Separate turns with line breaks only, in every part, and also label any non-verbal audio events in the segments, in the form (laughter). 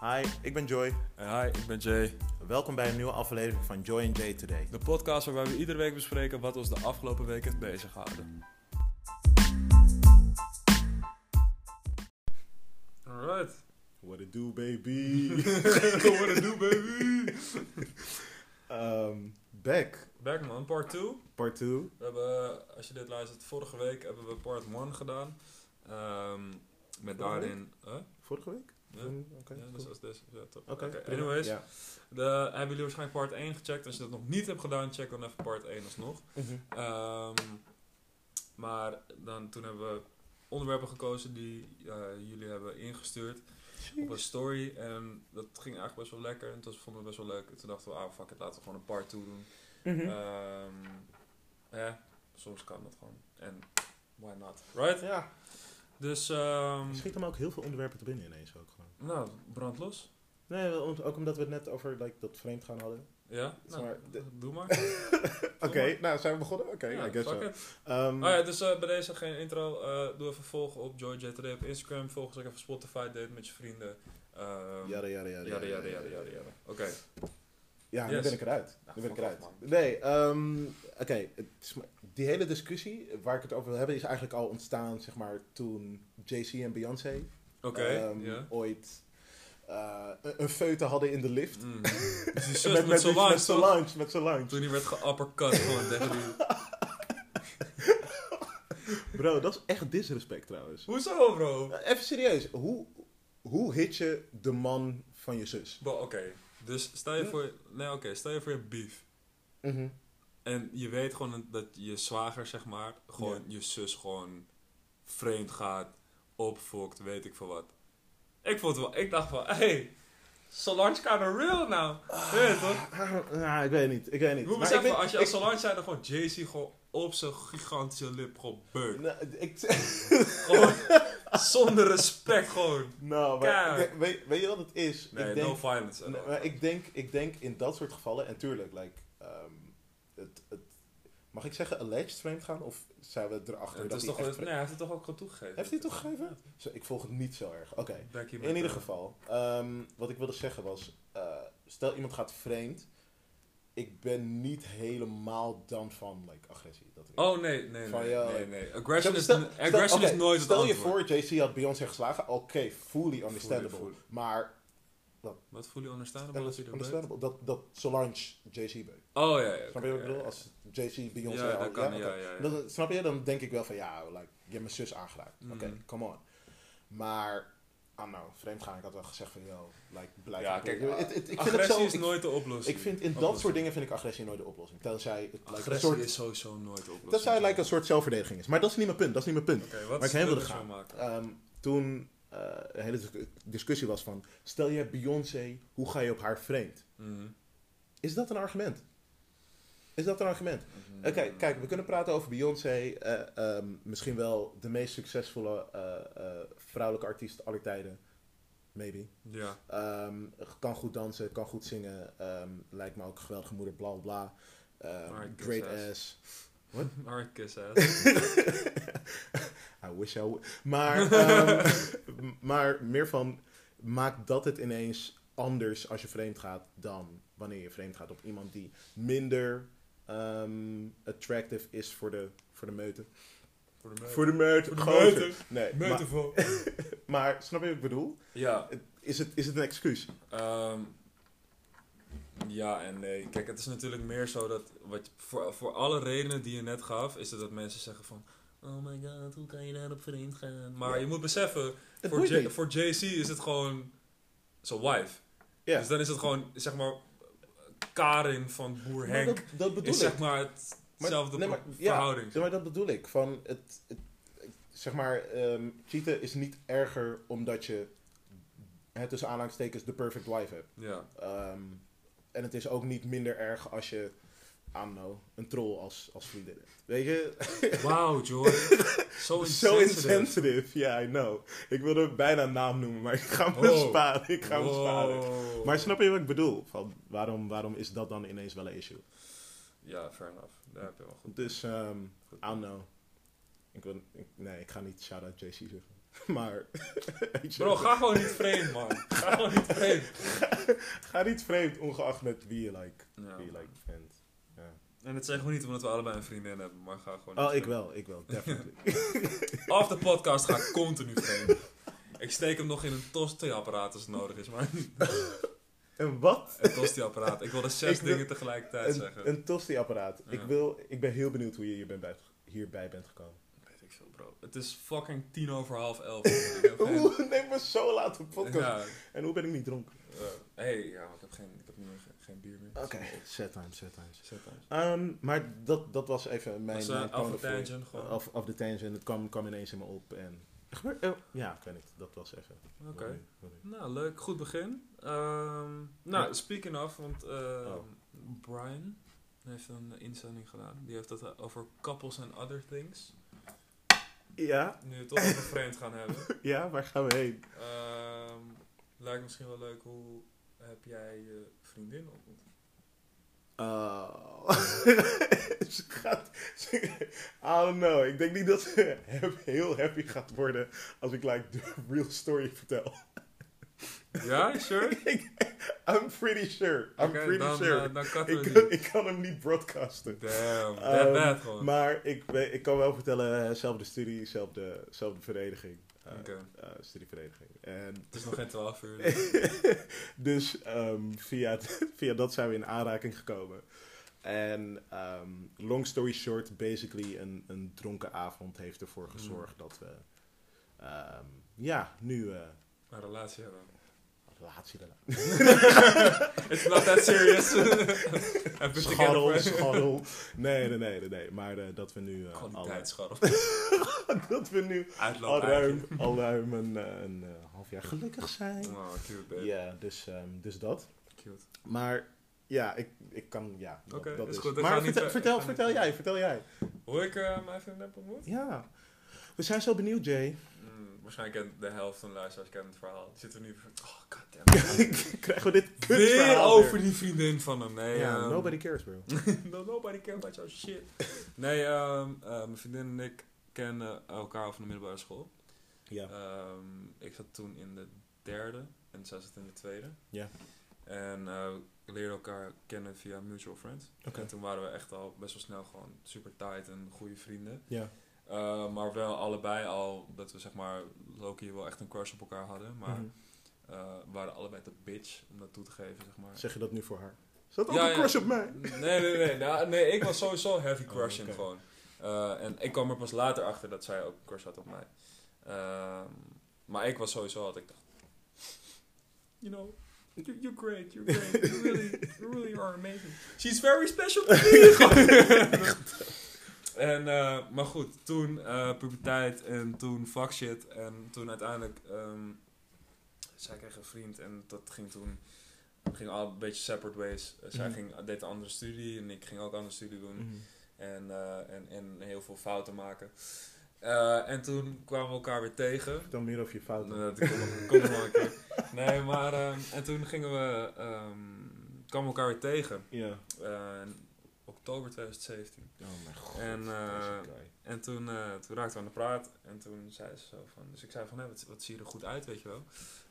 Hi, ik ben Joy.
Hi, ik ben Jay.
Welkom bij een nieuwe aflevering van Joy and Jay Today.
De podcast waarbij we iedere week bespreken wat ons de afgelopen week heeft bezighouden. Alright.
What it do, baby? (laughs)
What to do, baby?
Ehm, back,
Back man, part 2.
part 2.
We hebben, eh, als je dit luistert, vorige week hebben we part 1 gedaan. Ehm, met
Vorige
daarin... Huh?
Vorige week?
Ja,
Mm, Oké,
ja,
goed.
dus als deze. Ja, top.
Oké,
Oké,
prima.
anyways.
Ja.
De, hebben jullie waarschijnlijk part 1 gecheckt. Als je dat nog niet hebt gedaan, check dan even part 1 alsnog.
Mhm.
Ehm, maar dan, toen hebben we onderwerpen gekozen die eh, jullie hebben ingestuurd op een story. En dat ging eigenlijk best wel lekker. En dat vonden we best wel leuk. En toen dachten we, ah fuck it, laten we gewoon een part 2 doen.
Hm.
Mhm.
Ehm, ja, soms kan dat gewoon. En why not, right?
Ja.
Dus, ehm,
Er schieten me ook heel veel onderwerpen te binnen ineens ook gewoon.
nou, brand los.
Nee, wel, om- ook omdat we het net over like, dat vreemd gaan hadden.
Ja,
Zeg
nou,
maar,
doe maar.
(laughs) Oké, nou zijn we begonnen? Oké,
ja,
I guess
fuck
so.
it.
Ehm,
Oh ja, dus eh, bij deze geen intro. eh, doe even volgen op JoyJTD op Instagram. Volg ons ook even op Spotify. Date met je vrienden. Ehm
Jada, jada,
jada,
jada,
jada, jada, jada, jada. Oké.
Ja, nu
Yes.
ben ik eruit. Nu
Ah,
ben ik
fuck
eruit.
off, man.
Nee, ehm, oké. het is maar- die hele discussie waar ik het over wil hebben is eigenlijk al ontstaan, zeg maar, toen JC en Beyoncé
Oké,
ehm,
ja.
ooit eh, een een feute hadden in de lift. (laughs)
Mm. Die zus met, Solange,
met
toch?
Solange. Met Solange.
Toen hij werd geappercut gewoon tegen
(laughs)
die...
Bro, dat is echt disrespect trouwens.
Hoezo, bro?
Eh, Even serieus, hoe, hoe hit je de man van je zus?
Bro, oké. Dus stel je
Ja.
voor... Nee, oké. Stel je voor je beef. En je weet gewoon dat je zwager, zeg maar, gewoon je zus gewoon vreemd gaat, opfokt, weet ik veel wat. Ik vond het wel, ik dacht van, hey, Solange kind real nou. Weet je toch?
Ah, nou, ik weet niet, ik weet niet.
Je moet
Maar ik
beseffen,
ben-
als je
ik-
als Solange zei, dan gewoon Jay-Z gewoon op zijn gigantische lip gewoon beukt.
Nou, ik,
Gewoon zonder respect gewoon.
(laughs) nou, maar,
Kijk.
ik- weet, weet je wat het is?
Nee,
ik denk,
no violence.
Nee,
at all.
maar ik denk, ik denk in dat soort gevallen, en tuurlijk, like, ehm, het, het, mag ik zeggen alleged vreemd gaan? Of zijn we
Ja,
erachter
het
dat
is
hij echt
toch, wel- nee,
vreemd-
hij heeft het toch ook gewoon toegegeven.
Heeft hij het toegegeven? Zo, Ik volg het niet zo erg. Oké,
Back hier
in
met,
ieder
eh,
geval. ehm, wat ik wilde zeggen was, eh, stel iemand gaat vreemd. Ik ben niet helemaal dan van like, agressie. Dat weet ik.
Oh nee, nee,
Van,
nee,
ja,
nee,
like-
nee. Aggression, is,
Stel-
n-
stel-
aggression
oké,
is nooit het
Stel je
antwoord.
voor, JC had Beyoncé geslagen. Oké, fully understandable.
fully.
Maar
Wat voel je understandable als je erbij bent?
understandable, dat, dat Solange JC beukt.
Oh ja, ja. oké,
Snap je wat ik
ja,
bedoel?
ja.
Als JC Beyoncé.
Ja,
al-
dat kan, ja,
oké.
ja, ja.
Dan, snap je? Dan denk ik wel van ja, like, je hebt mijn zus aangeraakt.
Mm.
Oké, come on. Maar, ah nou, vreemd gaan, ik had wel gezegd van yo, like, blijf.
Ja,
maar-
kijk,
Het- het- ik vind het
Agressie
zo.
is
ik-
nooit de oplossing.
Ik vind in dat soort dingen vind ik agressie nooit de oplossing. Tenzij het like, een
Agressie
soort,
is sowieso nooit de oplossing.
tenzij het like, een soort zelfverdediging is. Maar dat is niet mijn punt. Dat is niet mijn punt.
Oké, wat
waar ik heen wilde gaan.
maken.
Ehm, toen eh een hele dis- discussie was van, stel je hebt Beyoncé, hoe ga je op haar vreemd?
Mhm.
Is dat een argument? Is dat een argument?
Mhm.
Oké, kijk, we kunnen praten over Beyoncé. eh, ehm, misschien wel de meest succesvolle eh, eh, vrouwelijke artiest aller tijden. Maybe.
Ja,
Ehm, kan goed dansen, kan goed zingen. ehm, lijkt me ook een geweldige moeder, bla bla bla. Ehm,
Alright, kiss
great
ass.
ass.
alright, kiss
(laughs)
ass.
I wish I would. Maar, ehm, m- maar meer van, maakt dat het ineens anders als je vreemd gaat dan wanneer je vreemd gaat op iemand die minder ehm, attractive is voor de, voor de meute.
Voor de
Voor de meute.
Voor de
gozer.
meute.
Nee, maar-
Metafoor.
Maar snap je wat ik bedoel?
(laughs) Ja,
Is het, is het een excuus?
Ehm, ja en nee. Kijk, het is natuurlijk meer zo dat... Wat je- voor, voor alle redenen die je net gaf, is het dat mensen zeggen van... Oh my god, hoe kan je daarop vreemd gaan? Maar
Ja.
je moet beseffen,
Het
voor,
boeit
J-
niet.
voor JC is het gewoon zijn wife.
Ja.
Dus dan is het gewoon, zeg maar, Karin van Boer
Maar
Henk.
dat, dat bedoel
is
ik.
zeg maar het-
Maar-
hetzelfde
nee,
pro-
maar- ja.
verhouding.
Zeg maar, dat bedoel ik. Van het, het- zeg maar, ehm, cheaten is niet erger omdat je, hè, tussen aanhalingstekens, de perfect wife hebt. (laughs)
Ja.
Ehm, en het is ook niet minder erg als je, I don't know, een troll als, als vriendin hebt. Weet je?
Wauw, Joy. Zo
(laughs) Zo
insensitive.
insensitive. Ja, I know. Ik wilde ook bijna een naam noemen, maar ik ga me
Wow.
sparen. Ik ga me sparen.
Wow.
Maar snap je wat ik bedoel? Van, waarom, waarom is dat dan ineens wel een issue?
Ja, fair enough. Daar heb je wel goed.
Dus, ehm I
goed.
don't know. Ik wil, ik- nee, ik ga niet shout-out JC zeggen. (laughs) Maar. weet je,
Bro, ga gewoon niet vreemd, man. Ga gewoon niet vreemd.
(laughs) Ga niet vreemd, ongeacht met wie je like,
Ja.
wie je like bent.
En dat zeggen we niet omdat we allebei een vriendin hebben, maar ga gewoon.
Oh,
niet
ik
vreemd.
wel, ik
(laughs)
wel, definitely.
Af de podcast ga
(laughs)
ik continu vreemd. Ik steek hem nog in een tosti-apparaat als het nodig is, maar (laughs)
en wat?
een
(laughs)
tosti-apparaat. Ik wilde zes
Ik wil-
dingen tegelijkertijd
Een,
zeggen.
een tosti-apparaat. Ik,
Ja.
wil, ik ben heel benieuwd hoe je hier bent bij, hierbij bent gekomen.
Weet ik veel, bro. Het is fucking tien over half elf. (laughs) Ik heb geen-
Oeh, (laughs) neem me zo laat een podcast.
Ja,
En hoe ben ik niet dronken?
eh, hey, ja, maar ik heb geen, ik heb nu geen, geen bier meer.
Oké, set times, set times.
Zet thuis.
Ehm, maar dat, dat was even mijn...
Dat is eh,
mijn
Alpha
point of view.
Tangent gewoon.
Of, of de tangent, het kwam, kwam ineens in me op en... Gebeurt- eh, ja, ik weet niet, dat was even...
Oké.
Wat nu, wat nu.
Nou, leuk. Goed begin. Ehm, nou,
Ja.
speaking of, want ehm,
Oh.
Brian heeft een inzending gedaan. Die heeft het eh, over couples and other things.
Ja,
Nu we het toch over vreemd gaan hebben.
(laughs) ja, waar gaan we heen?
Ehm, lijkt misschien wel leuk, hoe heb jij je vriendin ontmoet?
Oh. (laughs) ze gaat... Ze, I don't know, ik denk niet dat ze (laughs) heel happy gaat worden als ik like de real story vertel. (laughs)
Ja, sure.
I'm pretty sure, I'm
Oké,
pretty
dan,
sure.
eh, dan cutten
ik,
we
kan,
die.
ik kan hem niet broadcasten. (laughs)
Damn, that
Ehm,
bad gewoon.
Maar ik, we- ik kan wel vertellen, eh, zelfde studie, zelfde, zelfde vereniging. Eh,
Oké.
eh, studievereniging. En
Het is nog geen 12 uur. dus-
(laughs) dus ehm, via, (laughs) via dat zijn we in aanraking gekomen. En ehm, long story short, basically een, een dronken avond heeft ervoor gezorgd dat we ehm, ja, nu eh
Een relatie hebben.
relatie daarna.
It's not that
(laughs)
serious. I've been together
Scharrel,
for...
scharrel. Nee, nee, nee, nee, nee. Maar eh, dat we nu eh, alle-
Kwaliteitsscharrel.
(laughs) dat we nu al
Uitloop
ruim, al ruim een, eh, een eh, half jaar gelukkig zijn.
Oh, cute,
Ja,
babe.
dus, ehm, dus dat.
Cute.
Maar ja, ik, ik kan, ja, dat-
Oké,
dat
is
is.
goed, we gaan
maar
niet
vertel,
ver-
vertel,
we gaan
vertel
niet-
jij, vertel jij.
Hoe ik eh, mijn vriendin heb ontmoet?
Ja, we zijn zo benieuwd,
(laughs)
Jay.
Mm, waarschijnlijk kent de helft van de luisteraars kent het verhaal. Die zitten nu van, oh goddamn.
(laughs) Krijgen we dit
Weer
kutverhaal
over die vriendin van hem. Nee,
Ja,
ehm,
nobody cares, bro.
(laughs) no, nobody care about your shit. Nee, ehm, eh, mijn vriendin en ik kennen elkaar van de middelbare school.
Ja.
Ehm, ik zat toen in de derde en zij zat in de tweede.
Ja.
En eh, we leerden elkaar kennen via mutual friends.
Oké.
En toen waren we echt al best wel snel gewoon super tight en goede vrienden.
Ja.
Eh, maar wel allebei al dat we zeg maar Loki wel echt een crush op elkaar hadden. Maar
Mhm.
eh, we waren allebei te bitch om dat toe te geven, zeg maar.
Zeg je dat nu voor haar? Zat ook een crush op mij?
Nee, nee, nee. Nou, nee, ik was sowieso heavy
Oh,
crushing
oké.
gewoon. Eh, en ik kwam er pas later achter dat zij ook een crush had op mij. Ehm, maar ik was sowieso altijd, ik dacht, you know, you- you're great, you're great, you really, you really are amazing. She's very special to me.
(laughs)
Gewoon. en, eh, maar goed, toen eh puberteit en toen fuck shit en toen uiteindelijk, ehm, zij kreeg een vriend en dat ging toen, ging al een beetje separate ways. Eh, Zij
Mhm.
ging, deed een andere studie en ik ging ook een andere studie doen en, eh, en, en heel veel fouten maken. Eh, en toen kwamen we elkaar weer tegen.
Vertel meer over je fouten.
Nou, dat komt nog- komt nog wel een keer. Nee, maar ehm, en toen gingen we, ehm, kwamen we elkaar weer tegen.
Ja.
Eh, in oktober 2017.
Oh mijn god.
En, eh,
deze guy.
En toen, eh, toen raakten we aan de praat. En toen zei ze zo van... Dus ik zei van, hé, wat, wat zie je er goed uit, weet je wel.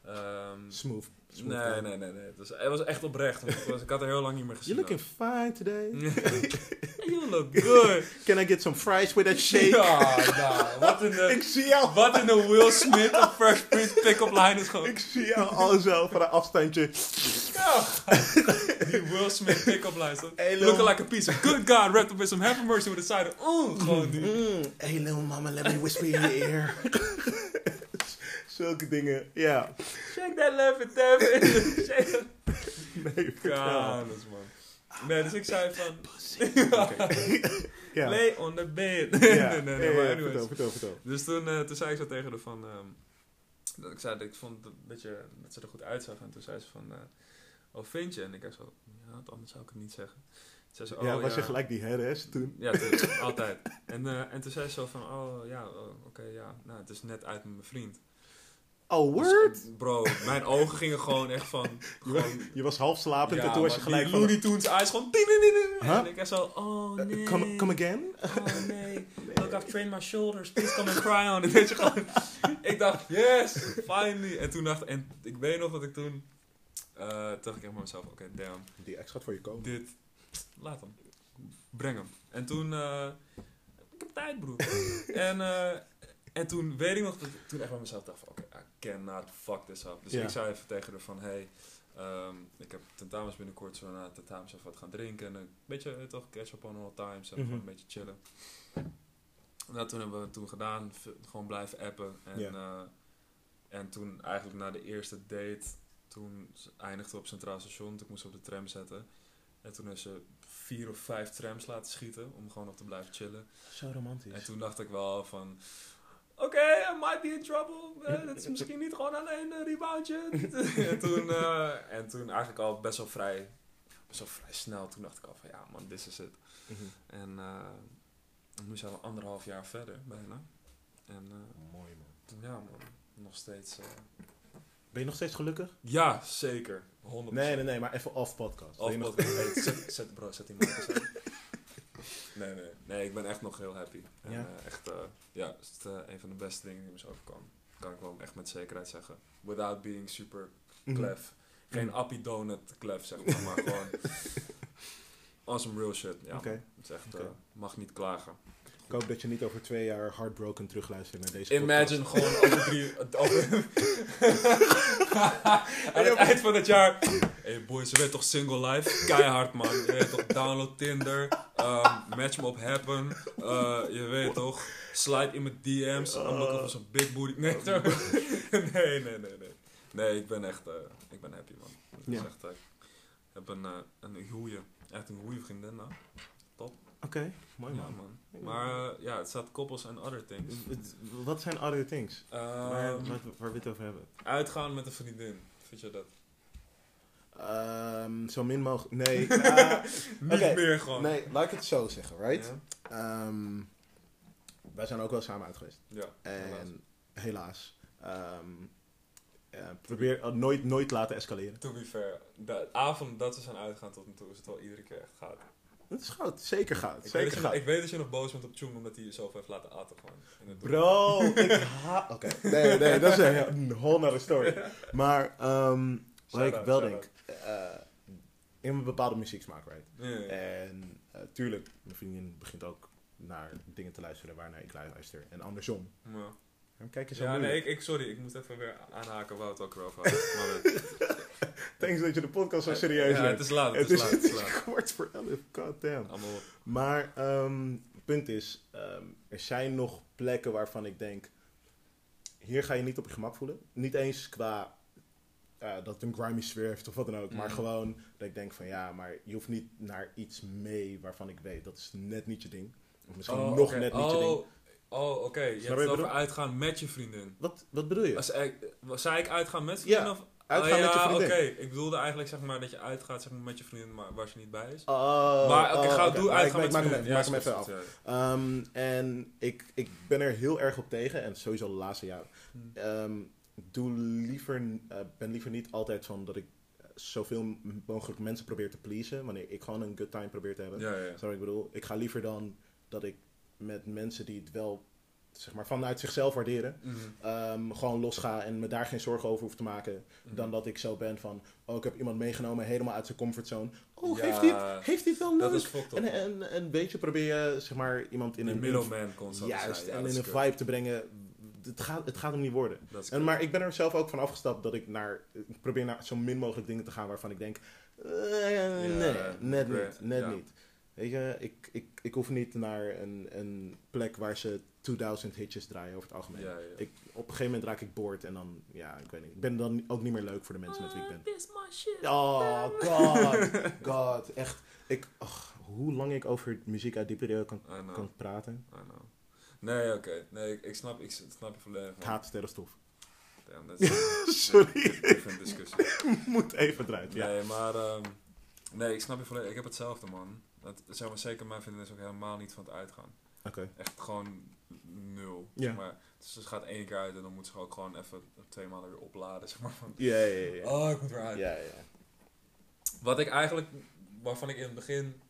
Ehm,
Smooth. smooth
nee,
guy.
nee, nee, nee. Het was, het was echt oprecht. Want ik, was- ik had er heel lang niet meer gezien.
You looking fine today.
(laughs)
(laughs)
you look good.
Can I get some fries with that shake?
(laughs) Ja, nou, wat in de...
Ik zie jou.
Wat in de Will Smith of Fresh Prince pick-up line is gewoon...
Ik zie jou al zo van een afstandje.
Ja. Die Will Smith pick-up line. is dat-
Hey, Lil-
Looking like a piece of good God wrapped up in some happy mercy with a side of... Oeh, gewoon die.
Mm, hey little mama, let me whisper in your ear. (laughs) Zulke dingen, ja.
Shake that left and
(laughs)
tap it. Shake that-
Nee, vertel.
Kanus, man. Nee, dus ik zei van... (laughs)
Ja.
Lay on the bed.
Ja,
(laughs) nee, nee,
ja,
nee,
ja,
maar anyways.
vertel, vertel, vertel.
Dus toen, eh, toen zei ik zo tegen haar van... ehm, dat ik zei dat ik vond het een beetje, dat ze er goed uitzag. En toen zei ze van... eh, oh, vind je? En ik zei zo... Ja, want anders zou ik het niet zeggen. Toen Zei ze,
ja,
oh,
was je gelijk die herres toen?
Ja, tuurlijk, (laughs) altijd. En, eh, en toen zei ze zo van, oh ja, oh, oké, ja, nou, het is net uit met mijn vriend.
Oh,
Dus,
word?
bro, mijn ogen gingen gewoon echt van... gewoon,
(laughs) Je was half slapend en
ja,
toen was je
maar
gelijk
die
van...
Looney Tunes eyes gewoon... ting, ting, ting, ting.
Huh?
En ik echt zo, oh
eh,
nee.
come, come again?
Oh nee. Look, I've trained my shoulders. Please come and cry on. (laughs) it. Weet je, gewoon, ik dacht, yes, finally. En toen dacht en ik weet nog dat ik toen... eh, toen dacht ik echt bij mezelf, oké, damn.
Die ex gaat voor je komen.
Dit, laat hem. Breng hem. En toen... eh, ik heb
(laughs)
tijd, broer. en, eh, en toen weet ik nog dat ik toen echt bij mezelf dacht van... Oké, I cannot fuck this up. Dus
Ja.
ik zei even tegen haar van... Hey, ehm, ik heb tentamens binnenkort. Zo na het tentamens even wat gaan drinken. En een beetje, eh, toch, catch up on all times. En
Mhm.
gewoon een beetje chillen. Nou, toen hebben we het toen gedaan. v- Gewoon blijven appen. En,
Ja.
eh, en toen eigenlijk na de eerste date... Toen z- eindigde we op Centraal Station. Toen moest ze op de tram zetten. En toen is ze vier of vijf trams laten schieten. Om gewoon nog te blijven chillen.
Zo
En
romantisch.
toen dacht ik wel van... Oké, I might be in trouble. Eh, dat is misschien niet gewoon alleen een reboundje. en, toen, eh, en toen eigenlijk al best wel vrij... Best wel vrij snel. Toen dacht ik al van... Ja man, this is it.
Mhm.
En eh, nu zijn we anderhalf jaar verder bijna. En eh,
Mooi man.
toen, ja man, nog steeds... eh,
Ben je nog steeds gelukkig?
ja, zeker. 100%.
Nee, nee, nee, maar even off podcast. Ben
Of
je nog-
wat hey, zet, zet, bro, zet die mic
(laughs)
eens aan. Nee, nee. Nee, ik ben echt nog heel happy. En,
Ja.
eh, echt, eh, ja, het is eh, een van de beste dingen die me is overkomen. Kan ik wel echt met zekerheid zeggen. Without being super
Mhm.
klef. Geen
Mhm.
appie donut klef, zeg maar. maar
(laughs)
gewoon on some real shit. Ja,
Oké.
man. Het is echt, eh,
Oké.
mag niet klagen.
Ik hoop dat je niet over twee jaar heartbroken terugluistert naar deze
Imagine
podcast.
gewoon over (laughs) drie... Over, aan het eind van het jaar... hey boys, je weet toch single life? Keihard man. Je weet toch, download Tinder. ehm, match me op Happen. Eh, je weet toch, slide in mijn DM's. I'm looking for some big booty... Nee, sorry. (laughs) nee, nee, nee, nee. Nee, ik ben echt... eh, ik ben happy man. Ik,
Ja.
echt, eh, ik heb een, eh, een goeie... Echt een goeie vriendin nou.
Oké, mooi
Ja
man. eh,
man. Maar eh, ja, het staat koppels en other things.
Het- Wat zijn other things? waar,
Ehm,
waar, waar we het over hebben?
Uitgaan met een vriendin. Vind je dat?
Ehm, zo min mogelijk. (laughs) Nee, eh,
Niet
Oké,
meer gewoon.
nee, laat ik het zo zeggen, right?
Ja.
Ehm, wij zijn ook wel samen uit geweest.
Ja, helaas.
En helaas. Ehm, eh, probeer eh, nooit, nooit laten escaleren.
To be fair, de avond dat we zijn uitgegaan tot nu toe is het wel iedere keer echt gaat.
Dat is goud. Zeker goud.
Ik, weet
zeker
dat je, nog-
goud.
ik weet dat je nog boos bent op Tjoen omdat hij jezelf heeft laten aten gewoon. in het dorp.
Bro, ik haat... (laughs) Oké, nee, nee, dat is een, een (laughs) whole nother story. Maar ehm, wat ik
Shout-out,
wel denk...
shout-out.
eh, in een bepaalde muzieksmaak, right?
Ja, ja, ja.
En eh, tuurlijk, mijn vriendin begint ook naar dingen te luisteren waarnaar ik luister. En andersom.
Ja.
Waarom kijk je zo
Ja, nee,
moeilijk?
ik, ik, sorry, ik moet even weer aanhaken Wout ook erover had. Maar
(laughs)
we-
Thanks dat je de podcast zo serieus
Ja, het
neemt.
is laat, het
Het
is
is-
laat, het is
(laughs)
laat.
Kwart voor elf, goddamn.
Allemaal op.
Maar ehm, het punt is, ehm, er zijn nog plekken waarvan ik denk, hier ga je niet op je gemak voelen. Niet eens qua eh, dat het een grimy sfeer heeft of wat dan ook. Maar
Mm.
gewoon dat ik denk van ja, maar je hoeft niet naar iets mee waarvan ik weet. Dat is net niet je ding. Of misschien
Oh,
nog
oké.
net niet je ding.
Oh, oh oké. Je
je
hebt
wat
het
ik
over
bedoel?
uitgaan met je vriendin.
Wat, wat bedoel je?
Was ik, was, zei ik uitgaan met vriendin
Ja.
of
Uitgaan
Oh,
met je
ja,
vriendin.
Oké, ik bedoelde eigenlijk zeg maar dat je uitgaat zeg maar, met je vriendin maar waar ze niet bij is.
Oh,
maar oké,
oh,
ga
oké.
doe
Maar ik-
uitgaan
maar ik maak
met je
hem
vriendin.
even- maak hem even af.
snap het,
Ehm, en ik, ik ben er heel erg op tegen, en sowieso de laatste jaren.
Hmm.
Ehm, doe liever, eh, ben liever niet altijd van dat ik eh, zoveel m- mogelijk mensen probeer te pleasen, wanneer ik gewoon een good time probeer te hebben.
Ja, ja, ja.
Snap je wat ik bedoel? Ik ga liever dan dat ik met mensen die het wel zeg maar, vanuit zichzelf waarderen,
Mhm.
ehm, gewoon losga en me daar geen zorgen over hoef te maken,
Mhm.
dan dat ik zo ben van, oh, ik heb iemand meegenomen helemaal uit zijn comfortzone. Oh,
Ja,
heeft dit, heeft dit wel
Dat
leuk?
is fucked up.
En, en een beetje probeer je zeg maar, iemand in
in een
een
middleman constant. te
Juist,
zijn. Ja,
en
dat
in
is
een
kut.
vibe te brengen. Het gaat, het gaat hem niet worden.
Dat is
En,
kut.
maar ik ben er zelf ook van afgestapt dat ik naar. Ik probeer naar zo min mogelijk dingen te gaan waarvan ik denk. eh,
Ja,
nee,
eh,
net
oké,
niet. Net
ja.
niet. Weet je, ik, ik, ik hoef niet naar een, een plek waar ze 2000 hitjes draaien over het algemeen.
Ja, ja.
Ik, op een gegeven moment raak ik boord en dan, ja, ik weet niet. Ik ben dan ook niet meer leuk voor de mensen met wie ik ben.
This my shit.
(laughs) Oh, god, god. Echt, ik, ach, hoe lang ik over muziek uit die periode kan,
I know,
kan praten.
I know. Nee, oké. Nee, ik, ik snap, ik snap je volledig.
Het
man.
haat sterrenstof. (laughs)
Damn, dat is
Sorry,
Even een discussie.
ik (laughs) moet even eruit. (laughs) Ja.
Nee, maar... ehm, nee, ik snap je volledig. Ik heb hetzelfde, man. Dat, zeg maar, zeker mijn vriendin is ook helemaal niet van het uitgaan.
Oké.
Echt gewoon nul.
Ja.
Maar Dus ze gaat één keer uit en dan moet ze ook gewoon even twee maanden weer opladen. (laughs) Zeg maar, van,
Ja, ja, ja.
oh, ik moet weer
Ja,
uit.
ja. ja.
Wat ik eigenlijk, waarvan ik in het begin,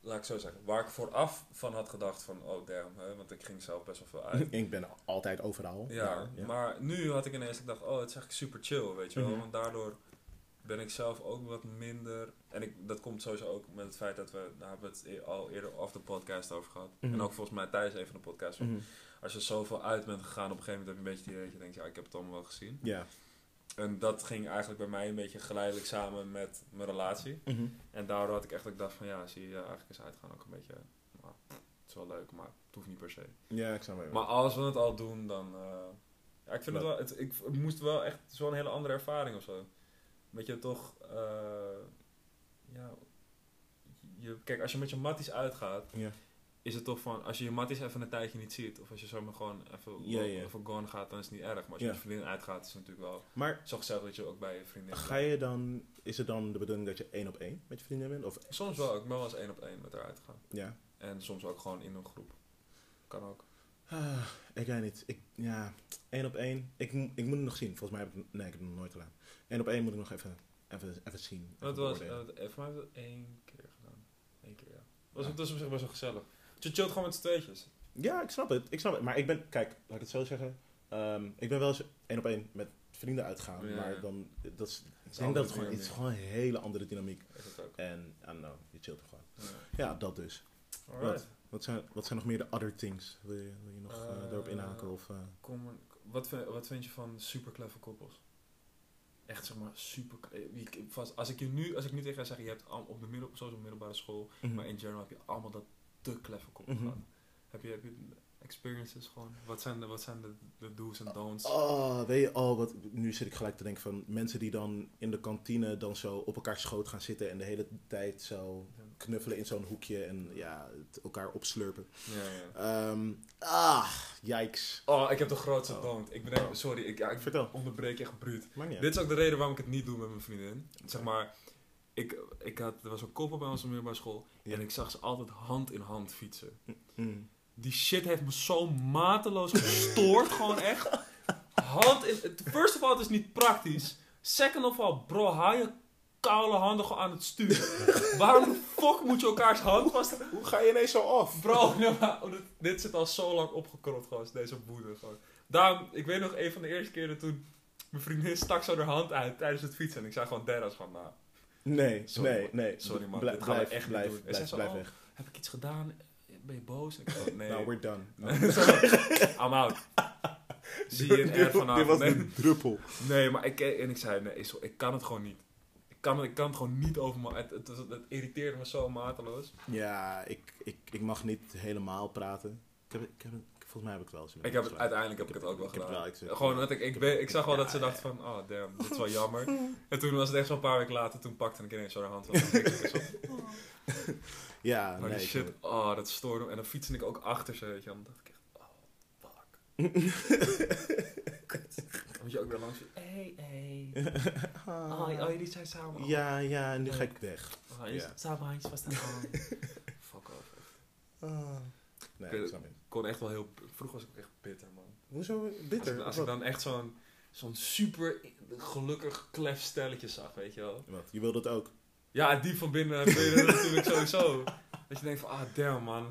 laat ik zo zeggen, waar ik vooraf van had gedacht van, oh damn, hè, want ik ging zelf best wel veel
(laughs)
uit.
Ik ben altijd overal.
Ja,
maar, ja.
maar nu had ik ineens gedacht, oh, het is eigenlijk super chill, weet je wel.
Mhm.
Want daardoor ben ik zelf ook wat minder. En ik, dat komt sowieso ook met het feit dat we, daar hebben we het e- al eerder af de podcast over gehad.
Mhm.
En ook volgens mij tijdens een van de podcasts. van,
Mhm.
Als je zoveel uit bent gegaan, op een gegeven moment heb je een beetje die idee dat je denkt, ja, ik heb het allemaal wel gezien.
ja.
En dat ging eigenlijk bij mij een beetje geleidelijk samen met mijn relatie.
Mhm.
En daardoor had ik echt dat ik dacht van ja, zie je, ja, eigenlijk is uitgaan ook een beetje. nou, het is wel leuk, maar het hoeft niet per se.
Ja, ik snap het.
Maar als we het al doen, dan. eh, ja, ik vind
Wat?
het wel. Het, ik v- het moest wel echt zo'n hele andere ervaring of zo. Met je toch. eh, ja. Je, kijk, als je met je matties uitgaat,
Ja.
is het toch van. Als je je matties even een tijdje niet ziet, of als je zomaar gewoon even,
Ja, ja.
even gone gaat, dan is het niet erg. Maar als je
Ja.
met je vriendin uitgaat, is het natuurlijk wel.
Maar
Zorg zelf dat je ook bij je vriendin.
ga je dan, is het dan de bedoeling dat je één op één met je vrienden bent? Of,
Soms wel, ik ben wel eens één op één met haar uitgaan.
ja.
En soms ook gewoon in een groep. Kan ook.
Ah, ik weet niet. Ik, ja, één op één. Ik, mo- ik moet het nog zien. Volgens mij heb ik, nee, ik heb het nog nooit gedaan. Eén op één moet ik nog even, even, even zien. Even
Dat was,
beoordelen.
eh, voor mij hebben we dat één keer gedaan. Eén keer, ja.
was-
Was,
dat
Dat is op zich best wel gezellig. Je chillt gewoon met z'n tweetjes.
Ja, ik snap het. Ik snap het. Maar ik ben, kijk, laat ik het zo zeggen. Ehm, ik ben wel eens één op één met vrienden uitgaan.
Ja,
maar
ja.
dan, dat is, ik denk dat het gewoon, het is gewoon een hele andere dynamiek.
Is dat ook.
En, I don't know, je chillt er gewoon. Ja, dat dus.
Alright.
Wat zijn, wat zijn nog meer de other things? Wil je, wil je nog eh,
Eh,
daarop inhaken? Of, eh,
Kom, wat, vind, wat vind je van super clever koppels? Echt zeg maar super. eh, ik- ik- vast- Als ik je nu, als ik nu tegen jou zeg, je hebt al- op de middel, zoals op middelbare school,
mhm.
maar in general heb je allemaal dat te clever koppels
Mhm.
gehad. Heb je, heb je experiences gewoon? Wat zijn de, wat zijn de, de do's en don'ts?
Oh, weet je, oh, wat, nu zit ik gelijk te denken van mensen die dan in de kantine dan zo op elkaar schoot gaan zitten en de hele tijd zo knuffelen in zo'n hoekje en ja, het elkaar opslurpen.
Ja, ja.
Ehm, ah, yikes.
Oh, ik heb de grootste
Oh.
don't. Ik ben even- sorry, ik, ja, ik
Vertel.
onderbreek echt bruut.
Maakt niet uit.
Dit is ook de reden waarom ik het niet doe met mijn vriendin. Zeg maar, ik, ik had, er was een koppel bij ons op de middelbare school.
Ja.
En ik zag ze altijd hand in hand fietsen.
Mm.
Die shit heeft me zo mateloos gestoord, gewoon echt. Hand in. First of all, het is niet praktisch. Second of all, bro, haal je koude handen gewoon aan het stuur. waarom de fuck moet je elkaars hand vast
Hoe ga je ineens zo af?
Bro, (laughs) ja, maar dit, dit zit al zo lang opgekropt, gast, deze woede. Gewoon. Daarom, ik weet nog een van de eerste keren toen mijn vriendin stak zo haar hand uit tijdens het fietsen. En ik zei gewoon dera's van, nou,
Nee,
Sorry,
nee, nee.
sorry, man.
Blij-
Dit gaan we
blijf,
echt niet
blijf,
doen. En zij
blijf,
zo,
blijf
oh,
weg.
heb ik iets gedaan? Ben je boos? En ik zei, nee. (laughs)
Nou, we're done.
I'm out.
(laughs)
Zie je
Dit-
het
Dit
vanavond.
was
Nee,
de druppel.
nee, maar ik, en ik zei, nee, Isel, ik kan het gewoon niet. Ik kan, het- ik kan het gewoon niet over me. Het, het, het, het irriteerde me zo mateloos.
Ja, ik, ik, ik mag niet helemaal praten. Ik heb, ik heb, volgens mij heb ik het wel eens.
Ik heb het, uiteindelijk heb ik het ook wel
Ik heb
gedaan.
het wel, ik zeg-
Gewoon dat ik, ik, ben- ik zag wel dat ze
Ja,
dacht van, oh damn, dit is
(laughs)
wel jammer. En toen was het echt zo'n paar weken later, toen pakte ik ineens zo haar hand. van,
(laughs)
ik denk, zo,
Ja,
Maar
nee.
die
ik
shit,
snap
oh dat stoorde me. En dan fietste ik ook achter ze, weet je. En dan dacht ik echt, oh fuck. Dan moet je ook weer langs. Hey,
(laughs)
hey.
het.
Oh, oh, jullie zijn
(laughs)
samen.
Ah. Ja, ja, nu ga ik weg.
Oh, jullie
ja.
zijn samen handjes vast aan de hand. Fuck off.
Ah. Nee,
Oké.
ik snap het.
Ik kon echt wel heel, vroeger was ik ook echt bitter man.
Hoezo
Als ik,
bitter?
als ik
Wat?
dan echt zo'n zo'n super gelukkig klef stelletje zag, weet je wel.
Wat? Je wil dat ook?
Ja, diep van binnen wil je dat natuurlijk sowieso. Dat je denkt van, ah damn man,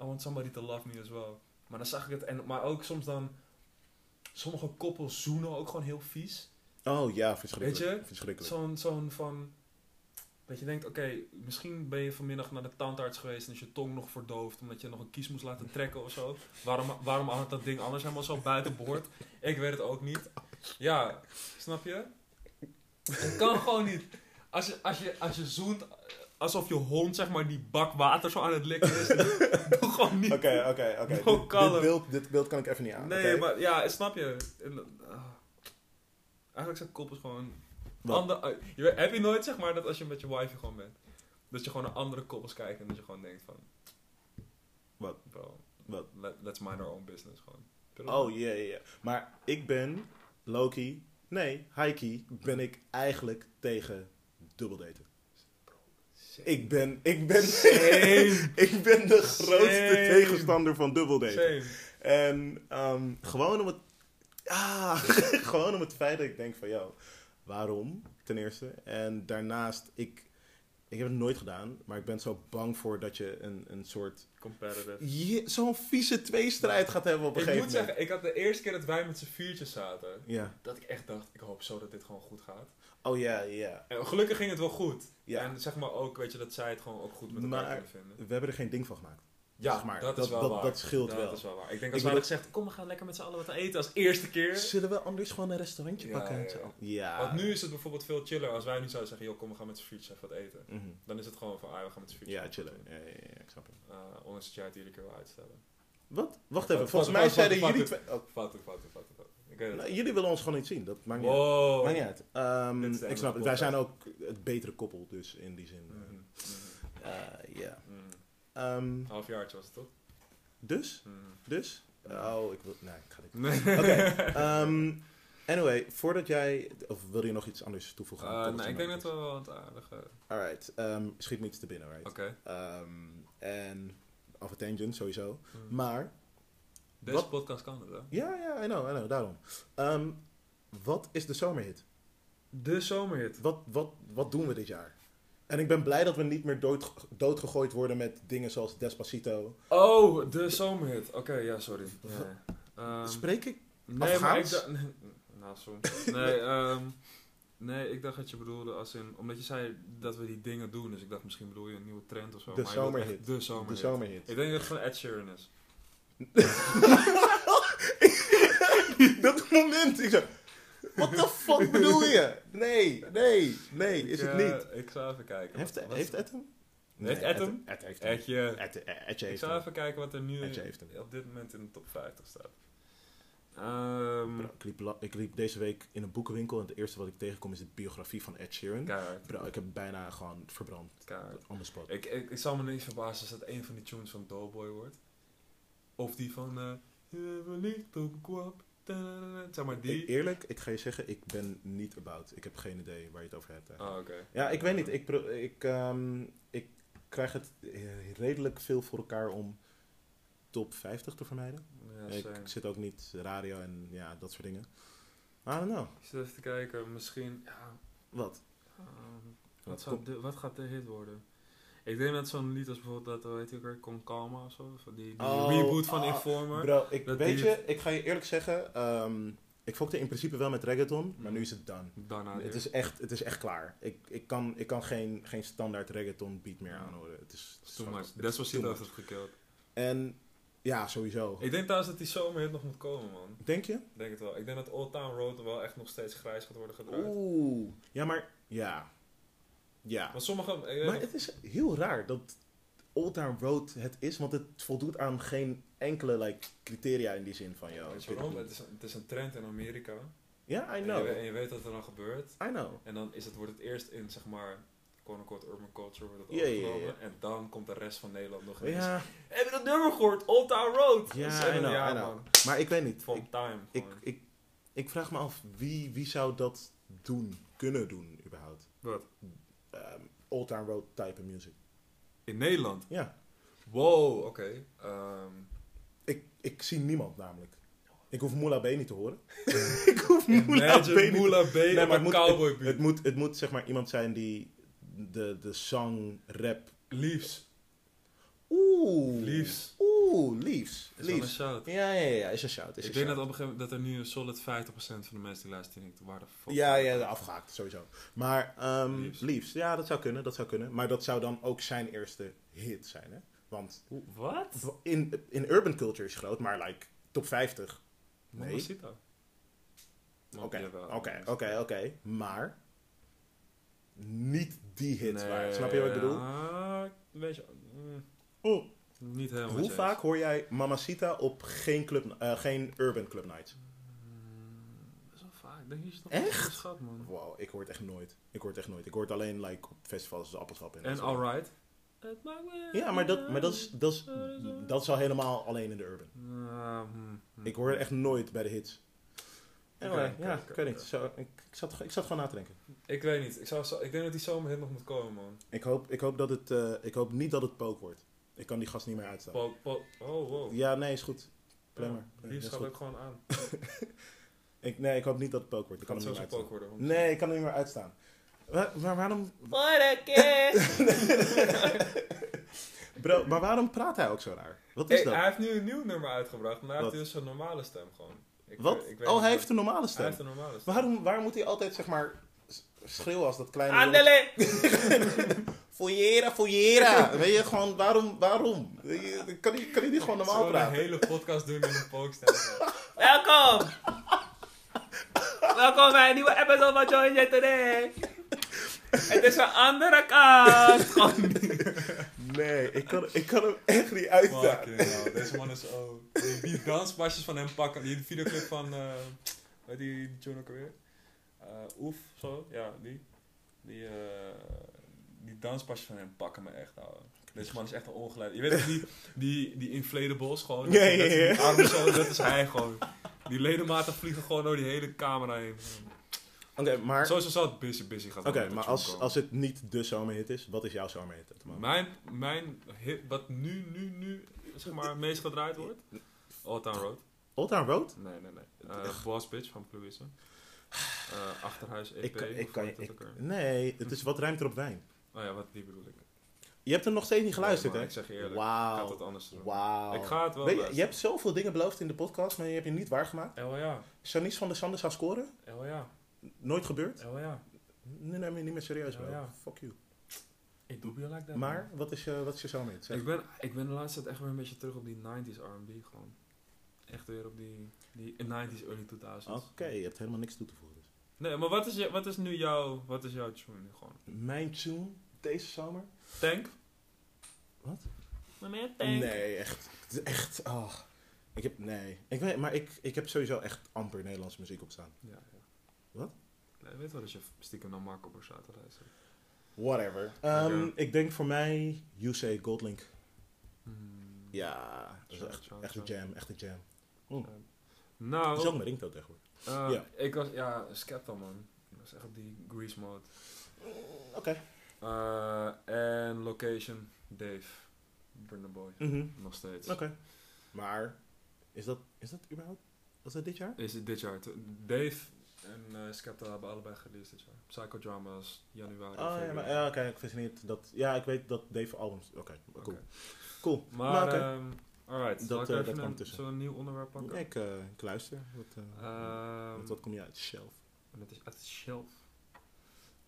I want somebody to love me as well. Maar dan zag ik het, en, maar ook soms dan, sommige koppels zoenen ook gewoon heel vies.
Oh ja, verschrikkelijk.
Weet je?
Verschrikkelijk.
Zo'n zo'n van, dat je denkt, oké, misschien ben je vanmiddag naar de tandarts geweest en is je tong nog verdoofd omdat je nog een kies moest laten trekken of zo. Waarom, waarom hangt dat ding anders helemaal zo buiten boord? Ik weet het ook niet. Ja, snap je? Het kan gewoon niet. Als je, als je, als je zoent eh, alsof je hond zeg maar die bak water zo aan het likken is, (laughs) doe gewoon niet.
Oké, oké, oké.
(laughs) No
Dit- Dit
color.
beeld- Dit beeld kan ik even niet aan.
nee,
oké?
maar ja, snap je. En, ah. eigenlijk zijn koppels gewoon
Wat?
Ander, eh, je weet- heb je nooit zeg maar dat als je met je wife gewoon bent, dat je gewoon naar andere koppels kijkt en dat je gewoon denkt van.
Wat?
Bro,
Wat?
Let, let's mind our own business gewoon.
Oh ja, ja, ja. Maar ik ben, Loki, nee, Haiki, ben ik eigenlijk tegen dubbeldaten. Ik ben, ik ben, (laughs)
(laughs) Shame.
ik ben de grootste
Shame.
tegenstander van dubbeldate.
Shame.
En ehm, gewoon om het. Ah, (laughs) gewoon om het feit dat ik denk van jou. Waarom? Ten eerste. En daarnaast, ik, ik heb het nooit gedaan, maar ik ben zo bang voor dat je een, een soort.
Competitive.
Je- Zo'n vieze tweestrijd gaat hebben op een
Ik
gegeven
moet
moment.
zeggen, ik had de eerste keer dat wij met z'n viertjes zaten,
Ja.
dat ik echt dacht, ik hoop zo dat dit gewoon goed gaat.
Oh ja, ja.
En gelukkig ging het wel goed.
ja.
En zeg maar ook, weet je, dat zij het gewoon ook goed met elkaar
Maar-
kunnen vinden.
We hebben er geen ding van gemaakt.
Ja,
zeg maar.
dat, is wel
dat,
waar.
dat scheelt
dat
wel.
is wel waar. Ik denk
Ik
als wij
bedoel-
hadden gezegd, kom we gaan lekker met z'n allen wat eten als eerste keer.
Zullen we anders gewoon een restaurantje
Ja,
pakken?
ja,
en zo? ja.
Want nu is het bijvoorbeeld veel chiller als wij nu zouden zeggen, joh, kom we gaan met z'n viertjes even wat eten.
Mhm.
Dan is het gewoon van, ah, we gaan met z'n viertjes.
Ja,
wat
chillen.
doen.
Ja, ja, ja, ik snap het.
Eh, ondanks dat jij het iedere keer wil uitstellen.
Wat? Wacht
Wat-
even,
wat-
volgens
wat-
mij
wat-
zeiden
wat-
jullie
wat-
twee... oh,
Fout, fout, fout, fout. Ik weet het.
nou, jullie willen ons gewoon niet zien, dat maakt niet uit.
wow.
Maakt niet uit. Ehm,
Dit is de
ik snap het. Wij
podcast.
zijn ook het betere koppel, dus in die zin.
Mhm, mhm,
eh, eh, ja.
mhm.
Ehm,
Een halfjaartje was het toch?
dus?
Mhm.
Dus? Oh, ik wil... Nee, ik ga dit...
(laughs) Nee.
Oké. ehm, anyway, voordat jij... Of wil je nog iets anders toevoegen?
Eh,
Tot
nee,
het
ik denk dat
is.
we wel aan het aardige. Oké.
Alright, ehm, schiet me iets te binnen, right? Ehm, en... Of a tangent, sowieso.
Mhm.
Maar...
Deze
wat-
podcast kan het, hè?
Ja, ja, I know, I know, daarom. Ehm, wat is de zomerhit?
De zomerhit.
Wat, wat, wat doen we dit jaar? En ik ben blij dat we niet meer dood, doodgegooid worden met dingen zoals Despacito.
Oh, de zomerhit. Oké, ja, sorry. Ja, ja. Ehm,
Spreek ik?
nee, maar ik
Afghaans?
dacht... Nee, nou,
(laughs)
soms. Nee, ehm, nee, ik dacht dat je bedoelde als in... Omdat je zei dat we die dingen doen. Dus ik dacht, misschien bedoel je een nieuwe trend of zo.
De
maar je bedoelt
zomerhit.
echt De zomerhit.
De zomerhit.
Ik denk dat het van Ed Sheeran is.
(laughs) dat moment, ik zo... What the
(laughs)
fuck bedoel je? Nee, nee, nee,
Ik,
is het
eh,
niet.
Ik zou even kijken.
Heeft,
Wat- wat-
heeft Ed hem?
Heeft Ed hem?
Ed heeft hem.
Edje.
Ed- Ed- Edje
Ik
heeft
zou
hem.
even kijken wat er nu
Edje heeft hem.
op dit moment in de top 50 staat.
Bro,
Ehm,
Nou, ik, liep, la- ik liep deze week in een boekenwinkel en het eerste wat ik tegenkom is de biografie van Ed Sheeran.
keihard,
Bro, ik heb bijna gewoon verbrand.
keihard.
On the spot.
Ik, ik, ik zal me niet verbazen als dat een van die tunes van Doughboy wordt. Of die van... eh, Je verliefd op kwap. tadadada. Zeg maar
Ik-
die.
E- eerlijk, ik ga je zeggen, ik ben niet about. Ik heb geen idee waar je het over hebt. eigenlijk.
Oh, oké.
Ah, Ja, ik weet niet. Ik, pro- ik, ehm, ik krijg het eh, redelijk veel voor elkaar om top 50 te vermijden.
Ja,
ik
same.
zit ook niet radio en ja, dat soort dingen. I don't know.
Ik zit even te kijken. Misschien... Ja,
Wat?
ehm,
Wat
wat, zou
komt-
de- wat gaat de hit worden? Ik denk dat zo'n lied als bijvoorbeeld dat, hoe heet die ook weer, Kom Calma of zo. of Die, die
Oh,
reboot van
ah,
Informer.
Bro, ik,
dat
weet
die-
je, ik ga je eerlijk zeggen, ehm, ik fokte in principe wel met reggaeton, maar
Mm.
nu is het done.
Daarna
Het
weer.
is echt, het is echt klaar. Ik, ik kan, ik kan geen, geen standaard reggaeton beat meer
Ja.
aanhoren. Het is, het is
Too
gewoon-
much.
het is
Despacito
too
heeft
much.
het gekild.
En ja, sowieso.
Ik denk trouwens dat die zomerhit nog moet komen, man.
Denk je?
Ik denk het wel. Ik denk dat Old Town Road wel echt nog steeds grijs gaat worden gedraaid.
Oeh. Ja, maar ja. Ja.
Maar sommige... ik weet
Maar
nog-
het is heel raar dat Old Town Road het is, want het voldoet aan geen enkele like, criteria in die zin van jou.
Weet je waarom? Het is, het is een trend in Amerika.
Ja, I
En je,
know.
we- en je weet wat er dan gebeurt.
I know.
En dan is het, wordt het eerst in, zeg maar, quote-unquote urban culture wordt het
Ja, ja, ja,
overgenomen. En dan komt de rest van Nederland nog eens.
Ja,
Heb je dat nummer gehoord? Old Town Road!
Ja,
Dus, eh,
I know,
ja,
I know.
man.
maar ik weet niet.
Van
Ik,
time.
ik,
gewoon.
ik, ik vraag me af, wie, wie zou dat doen, kunnen doen überhaupt?
Wat?
Ehm, Old Town Road type of music.
In Nederland?
Ja.
Wow, oké. Ehm,
Ik, ik zie niemand namelijk. Ik hoef Moula B niet te horen. ik hoef (laughs) Moula B
Imagine
niet
Moula B
Nee,
op
maar het
een
moet-
cowboy
Het moet, het moet zeg maar iemand zijn die de, de song, rap.
Liefs.
Oeh.
Liefs.
Oeh, liefs.
Is wel een
Liefs.
shout.
Ja, ja, ja, is een shout. Is
Ik
een
denk dat
shout.
op een gegeven moment dat er nu een solid 50% van de mensen die luisteren denkt, waar de fuck.
Ja, ja, afgehaakt sowieso. Maar ehm,
Liefs.
liefs. ja, dat zou kunnen, dat zou kunnen. Maar dat zou dan ook zijn eerste hit zijn, hè? Want
Wat?
in, in urban culture is groot, maar like top 50. Nee.
Mamacita.
Oké, oké, oké, oké. Maar niet die hit waar. Snap je wat ik
Oh,
bedoel?
ah, weet je, mm,
Oh,
niet helemaal.
Hoe
eens.
vaak hoor jij Mamacita op geen, club, eh, geen urban club nights?
Mm, Best wel vaak. Ik Denk je dat
Echt?
Schat, man.
Wow, ik hoor het echt nooit. Ik hoor het echt nooit. Ik hoor het alleen like, op festivals als appelsap. dat
En
soort dingen.
alright.
Ja, maar, dat, maar dat, is, dat, is, dat is al helemaal alleen in de urban.
Ah, mm, mm.
Ik hoor het echt nooit bij de hits. Anyway,
Oké,
ja,
oké,
ik weet niet.
oké.
Zo, ik, ik, zat, ik zat gewoon na te denken.
Ik weet niet. Ik, zou, zo- ik denk dat die zomerhit nog moet komen, man.
Ik hoop, ik hoop, dat het, eh, ik hoop niet dat het pook wordt. Ik kan die gast niet meer uitstaan.
Po- po- oh, wow.
Ja, nee, is goed. Plan maar.
Ja,
Ja,
die
is
schat
goed.
ik gewoon aan.
Ik, nee, ik hoop niet dat het pook wordt. Ik
kan
kan
het
hem
zo
niet
zijn
meer
pook
uitstaan.
worden. want-
Nee, ik kan hem niet meer uitstaan. Wa- Maar waarom...
What a kiss!
(laughs) Bro, maar waarom praat hij ook zo raar? Wat
Hey,
is dat?
hij heeft nu een nieuw nummer uitgebracht, maar hij
Wat?
heeft dus een normale stem gewoon. Ik,
Wat?
weet- ik weet
Oh,
niet
hij
wat-
heeft een normale
Hij
stem.
heeft een normale stem.
Waarom, waarom moet hij altijd, zeg maar, s- schreeuwen als dat
Ah,
kleine...
Andele!
Foyera, foyera. (laughs) Weet je, gewoon, waarom, waarom? Weet je, Kan hij, kan hij niet gewoon normaal
Zullen we
praten?
een hele podcast doen
(laughs)
in een pookstem.
Welkom! Welkom bij een nieuwe episode van Join J Today! Het is een andere kant!
Nee, ik kan, ik kan hem echt niet uitstaan.
Fucking hell, deze man is oh. Die, die danspasjes van hem pakken, die videoclip van, eh weet die John ook alweer? Eh, Oef, zo, ja, die. Die, eh, die danspasjes van hem pakken me echt, ouwe. Deze man is echt een ongeleid. Je weet toch die, die, die inflatables gewoon?
Ja, ja, ja.
Die armen zo, dat is hij gewoon. Die ledematen vliegen gewoon door die hele camera heen.
Oké, maar,
Sowieso zal het busy busy gaan.
oké,
worden tot
maar
John
als,
komen.
als het niet de zomerhit is, wat is jouw zomerhit op het moment?
Mijn, mijn hit, wat nu, nu, nu, zeg maar, het meest gedraaid wordt? Old Town Road.
Old Town Road?
Nee, nee, nee. Eh Boss Bitch van Louise. Eh Achterhuis EP.
Ik kan, ik
of
kan,
hoe heet dat
ik,
ook weer?
nee, het is wat ruimt er op wijn.
Oh ja, wat die bedoel ik.
Je hebt hem nog steeds
Oh,
niet geluisterd,
Nee, maar
hè?
Ik zeg je eerlijk, ik had
Wauw.
het anders doen.
Wauw.
Ik ga het wel
Weet je, je
luisteren.
hebt zoveel dingen beloofd in de podcast, maar je hebt je niet waargemaakt.
El ja,
Janice van der Sande zou scoren.
El ja,
Nooit gebeurd.
El ja.
Nu neem je niet meer serieus,
Ja,
bro.
ja.
Fuck you.
Ik doe je like that.
Maar, wat is je, wat is je zomerhit? Zeg.
Ik ben, ik ben de laatste tijd echt weer een beetje terug op die 90s R&B gewoon. Echt weer op die, die 90s, early 2000s.
Oké, je hebt helemaal niks toe te voegen. dus.
Nee, maar wat is, je, wat is nu jouw, wat is jouw tune nu gewoon?
Mijn tune deze zomer?
Tank?
Moment,
Nee, echt. Echt, ah. Ik heb, nee. Ik weet, maar ik, ik heb sowieso echt amper Nederlandse muziek op staan.
Ja, ja.
Wat?
Nee, ik weet wel dat je stiekem naar Marco Borsato luistert.
Whatever. Ehm,
Oké.
Ik denk voor mij, Yusei Goldlink.
Hmm.
Ja, dat is
Zo,
echt,
zo,
echt
zo.
een jam, echt een jam. Dat is ook
Nou,
mijn ringtoon tegenwoordig.
eh,
ja.
ik was, ja, Skepta man. Dat was echt op die Grease mode.
Oké.
Eh, En location, Dave. Burner Boy.
Mhm.
Nog steeds.
Oké. Maar, is dat, is dat überhaupt, was dat dit jaar?
Is het dit jaar? te- Dave en eh, Skepta hebben allebei gereleased dit jaar. Psychodramas, januari.
Oh ja,
februari.
maar, ja oké, ik wist niet dat, ja, ik weet dat Dave albums, oké, cool.
Oké.
Cool.
Maar,
Maar eh, oké.
ehm, alright.
Dat,
Dat,
eh,
ik
dat
even
kwam
een,
tussen.
zullen we een nieuw onderwerp pakken?
ik, eh, ik luister. Wat, eh,
Ehm,
wat, wat kom je uit? Shelf.
En het is uit de shelf.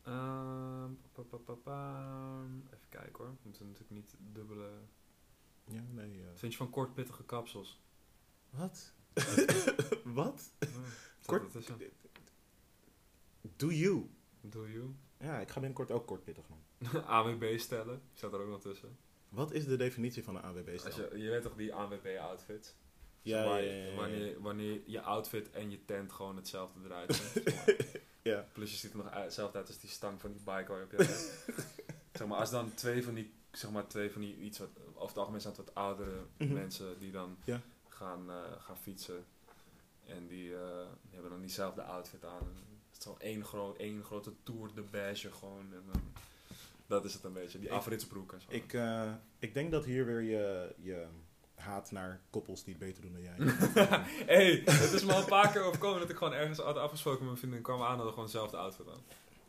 Ehm, pa, pa, pa, pa. Even kijken hoor. We moeten natuurlijk niet dubbele.
Ja, nee. eh,
Wat vind je van kort pittige kapsels?
wat? (laughs) wat?
Ja,
Kort-
Dat is hem.
Do you?
Do you? (laughs)
Ja, ik ga binnenkort ook kort pittig doen.
AWB stellen. Ik zat er ook nog tussen.
Wat is de definitie van een AWB
Als
stel?
je, je weet toch die AWB outfit?
Ja,
Waar-
ja, ja, ja, ja.
Wanneer, wanneer je outfit en je tent gewoon hetzelfde
(laughs)
eruit zien.
Ja.
Plus je ziet er nog uit- hetzelfde uit als die stang van die bike waar je op je
(laughs)
rijdt. Zeg maar, als dan twee van die, zeg maar, twee van die iets wat, over het algemeen zijn het wat oudere
Mhm.
mensen die dan
Ja.
gaan, eh, gaan fietsen. En die, eh, die hebben dan diezelfde outfit aan. En het is gewoon één, groot, één grote tour de beige gewoon. En dan, dat is het een beetje, die
Ik-
afritsbroek en zo.
Ik, eh, ik denk dat hier weer je, je haat naar koppels die het beter doen dan
(laughs)
jij.
Hé, het is me al een paar keer overkomen dat ik gewoon ergens had afgesproken met mijn vriendin kwam aan en hadden gewoon dezelfde outfit aan.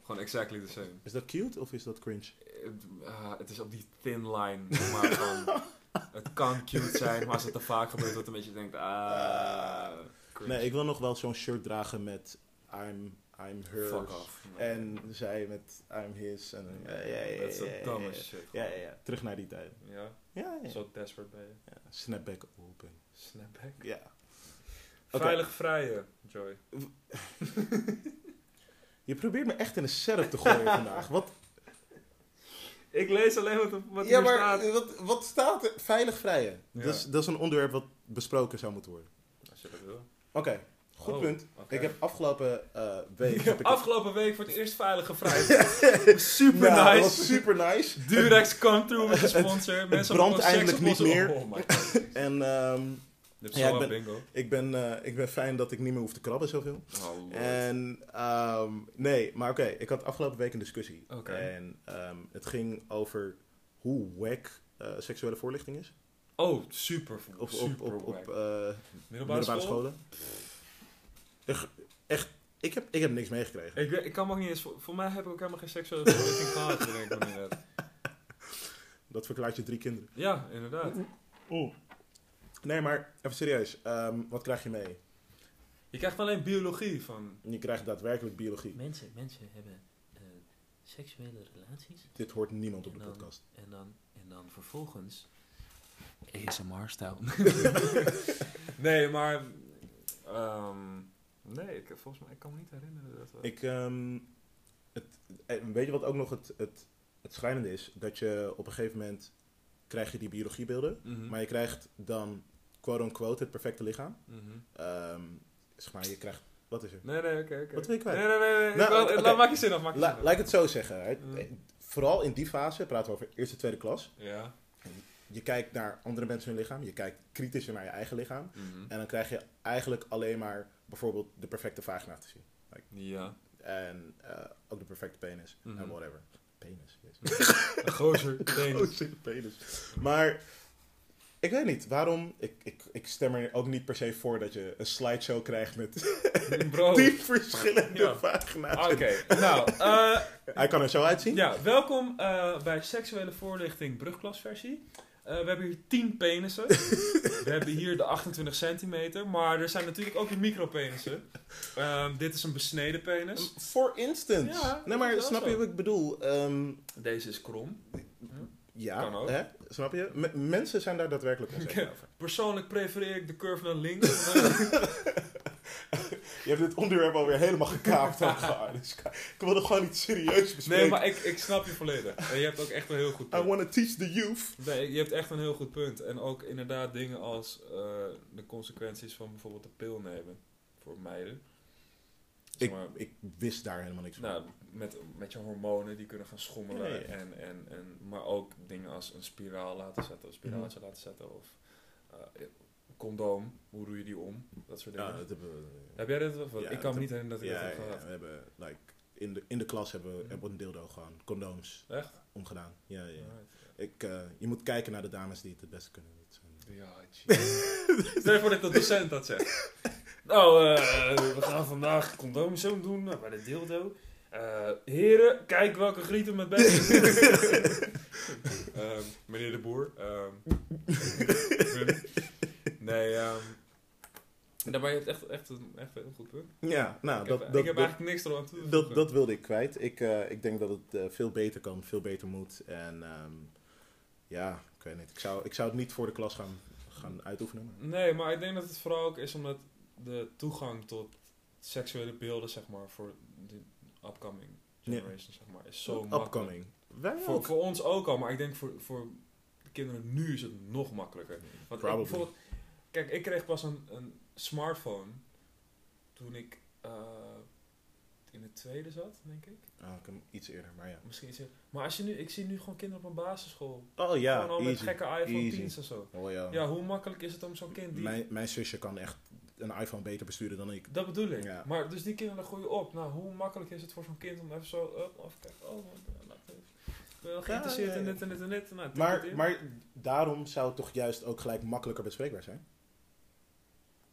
Gewoon exactly the same.
is dat cute of is dat cringe?
Het, ah, het is op die thin line, (laughs) maar gewoon, het kan cute zijn, maar als het te vaak gebeurt, dat een beetje denkt, ah, cringe.
Nee, ik wil nog wel zo'n shirt dragen met I'm, I'm her.
fuck off.
En zij met I'm his. En, eh, dan- ja, ja, ja,
Dat is
ja, ja,
een domme
ja.
shit.
Ja, ja, ja. Terug naar die tijd.
Ja,
Ja, ja.
zo desperate ben je.
ja. Snapback open.
Snapback.
Ja. Oké.
Veilig vrije, Joy.
Je probeert me echt in een setup te gooien vandaag. Wat,
Ik lees alleen wat, wat
ja,
hier
maar
staat.
Wat, wat staat er? Veilig vrijen.
Ja.
Dat, is, dat is een onderwerp wat besproken zou moeten worden.
Als je dat wil.
Oké, goed
Oh,
punt.
oké.
Ik heb afgelopen eh, week... Heb ik (laughs)
Afgelopen week voor het eerst veilig gevrijd. Super
Nou, dat
nice.
was super nice. (laughs)
Durex come through met de sponsor.
brandt
hebben gewoon seks
eindelijk
op
(laughs)
Oh
niet
onze-
meer.
Oh my god.
En ehm,
Je hebt
Ja,
zo
ik
een
ben-
bingo.
Ik ben, eh, ik ben fijn dat ik niet meer hoef te krabben zoveel.
Oh, lord.
En ehm, nee, maar oké, ik had afgelopen week een discussie.
Oké.
En ehm, het ging over hoe wack eh, seksuele voorlichting is.
oh super.
Op, op,
super
op, op
wack.
eh,
middelbare,
middelbare
school?
scholen. Echt, echt ik, heb, ik heb niks meegekregen.
Ik, weet- ik kan me ook niet eens... Voor, voor mij heb ik ook helemaal geen seksuele verlichting gehad, denk
(laughs)
ik me nu net.
Dat verklaart je drie kinderen.
Ja, inderdaad.
Nee, maar even serieus. ehm, wat krijg je mee?
Je krijgt alleen biologie van...
Je krijgt daadwerkelijk biologie.
Mensen, mensen hebben eh, seksuele relaties
Dit hoort niemand op de
En dan-
podcast.
en dan, en dan vervolgens ASMR-stijl.
Nee, maar... ehm, nee, ik, volgens mij ik kan me niet herinneren dat... we-
Ik, ehm, het, eh, weet je wat ook nog het, het, het schrijnende is? Dat je op een gegeven moment krijg je die biologiebeelden.
Mhm.
Maar je krijgt dan quote-unquote het perfecte lichaam.
Mhm.
Ehm, zeg maar, je krijgt... Wat is er?
Nee, nee, oké, oké.
Wat wil je kwijt?
Nee, nee, nee. nee. ik
Nou,
wil-
oké.
laat- Maak je zin af, maak je
La-
zin af.
laat ik het zo zeggen. hè.
Mm.
Eh, Vooral in die fase, praten we over eerste, tweede klas.
Ja.
Je kijkt naar andere mensen hun lichaam. Je kijkt kritischer naar je eigen lichaam.
Mhm.
En dan krijg je eigenlijk alleen maar bijvoorbeeld de perfecte vagina te zien.
Ja.
En eh, ook de perfecte penis.
Mhm.
En whatever. Penis. jezus.
Een Gozer.
Oh,
penis.
shit, penis. Maar ik weet niet waarom. Ik, ik, ik stem er ook niet per se voor dat je een slideshow krijgt met
Bro.
tien verschillende
Oh. Ja.
vagina's.
Oké, nou, eh,
Hij kan er zo uitzien.
ja, welkom eh, bij Seksuele Voorlichting Brugklasversie. Eh, we hebben hier 10 penissen. we hebben hier de 28 centimeter, maar er zijn natuurlijk ook weer micropenissen. Ehm, dit is een besneden penis.
For instance.
Ja,
nee, maar
dat is
snap
wel
je
zo.
wat ik bedoel? Ehm,
Deze is krom.
ja,
Kan ook.
Hè? snap je? M- mensen zijn daar daadwerkelijk onzeker
Oké.
over.
Persoonlijk prefereer ik de curve naar links. Eh,
Je hebt dit onderwerp alweer helemaal
(laughs)
gekaapt. Haha, dus ik- ik wil het gewoon niet serieus bespreken.
nee, maar ik, ik snap je volledig. En je hebt ook echt een heel goed
I
punt.
want to teach the youth.
Nee, je hebt echt een heel goed punt. En ook inderdaad dingen als eh, de consequenties van bijvoorbeeld de pil nemen voor meiden. Zeg
Ik,
maar-
ik wist daar helemaal niks van.
Nou, met, met je hormonen die kunnen gaan schommelen.
Ja, ja, ja.
En, en, en, maar ook dingen als een spiraal laten zetten, een spiraaltje
Mhm.
laten zetten of eh, condoom. Hoe doe je die om? Dat soort dingen.
ja, dat hebben we-
Heb jij dat? Of wat?
Ja,
ik kan
dat
me niet herinneren dat ik
ja,
dat heb
ja,
gehad.
we hebben, like, in de, in de klas hebben we,
Mhm.
hebben we een dildo gewoon, condooms
Echt?
omgedaan. Ja, ja.
Alright.
Ik, eh, je moet kijken naar de dames die het het beste kunnen. Dat zijn-
Ja, jeez. Stel je voor dat de docent dat zegt. Nou, eh, we gaan vandaag condooms zo doen nou, bij de dildo. Eh, heren, kijk welke grieten
(laughs)
met best. Ehm, meneer de Boer. ehm. nee, ehm nee, maar je hebt echt, echt, een, echt een heel goed punt.
Ja, nou,
ik
dat,
heb,
dat,
ik heb
dat,
eigenlijk niks eraan toe te
dat,
voegen.
dat wilde ik kwijt. Ik, eh, ik denk dat het eh, veel beter kan, veel beter moet. En ehm, ja, ik weet niet. Ik zou, ik zou het niet voor de klas gaan, gaan uitoefenen. maar-
Nee, maar ik denk dat het vooral ook is omdat de toegang tot seksuele beelden, zeg maar, voor de upcoming generation, zeg maar, is zo makkelijk.
Upcoming. Wij
Voor,
ook.
voor ons ook al, maar ik denk voor, voor de kinderen nu is het nog makkelijker. Want ik
Probably.
bijvoorbeeld, kijk, ik kreeg pas een, een smartphone toen ik eh, in het tweede zat, denk ik.
Ah, ik heb hem iets eerder, maar ja.
Misschien is het- maar als je nu, ik zie nu gewoon kinderen op een basisschool.
Oh
gewoon al
ja,
met
easy.
gekke iPhone
easy.
10's en zo.
Oh, ja.
Ja, hoe makkelijk is het om zo'n kind die
mijn, mijn zusje kan echt een iPhone beter besturen dan ik.
Dat bedoel ik.
Ja.
Maar dus die kinderen groeien op. Nou, hoe makkelijk is het voor zo'n kind om even zo up, af te kijken. Oh, laat even. Ik ben wel geïnteresseerd
Ja, ja, ja.
in dit en dit en dit. Nou, tik het
Maar,
in.
maar daarom zou het toch juist ook gelijk makkelijker bespreekbaar zijn?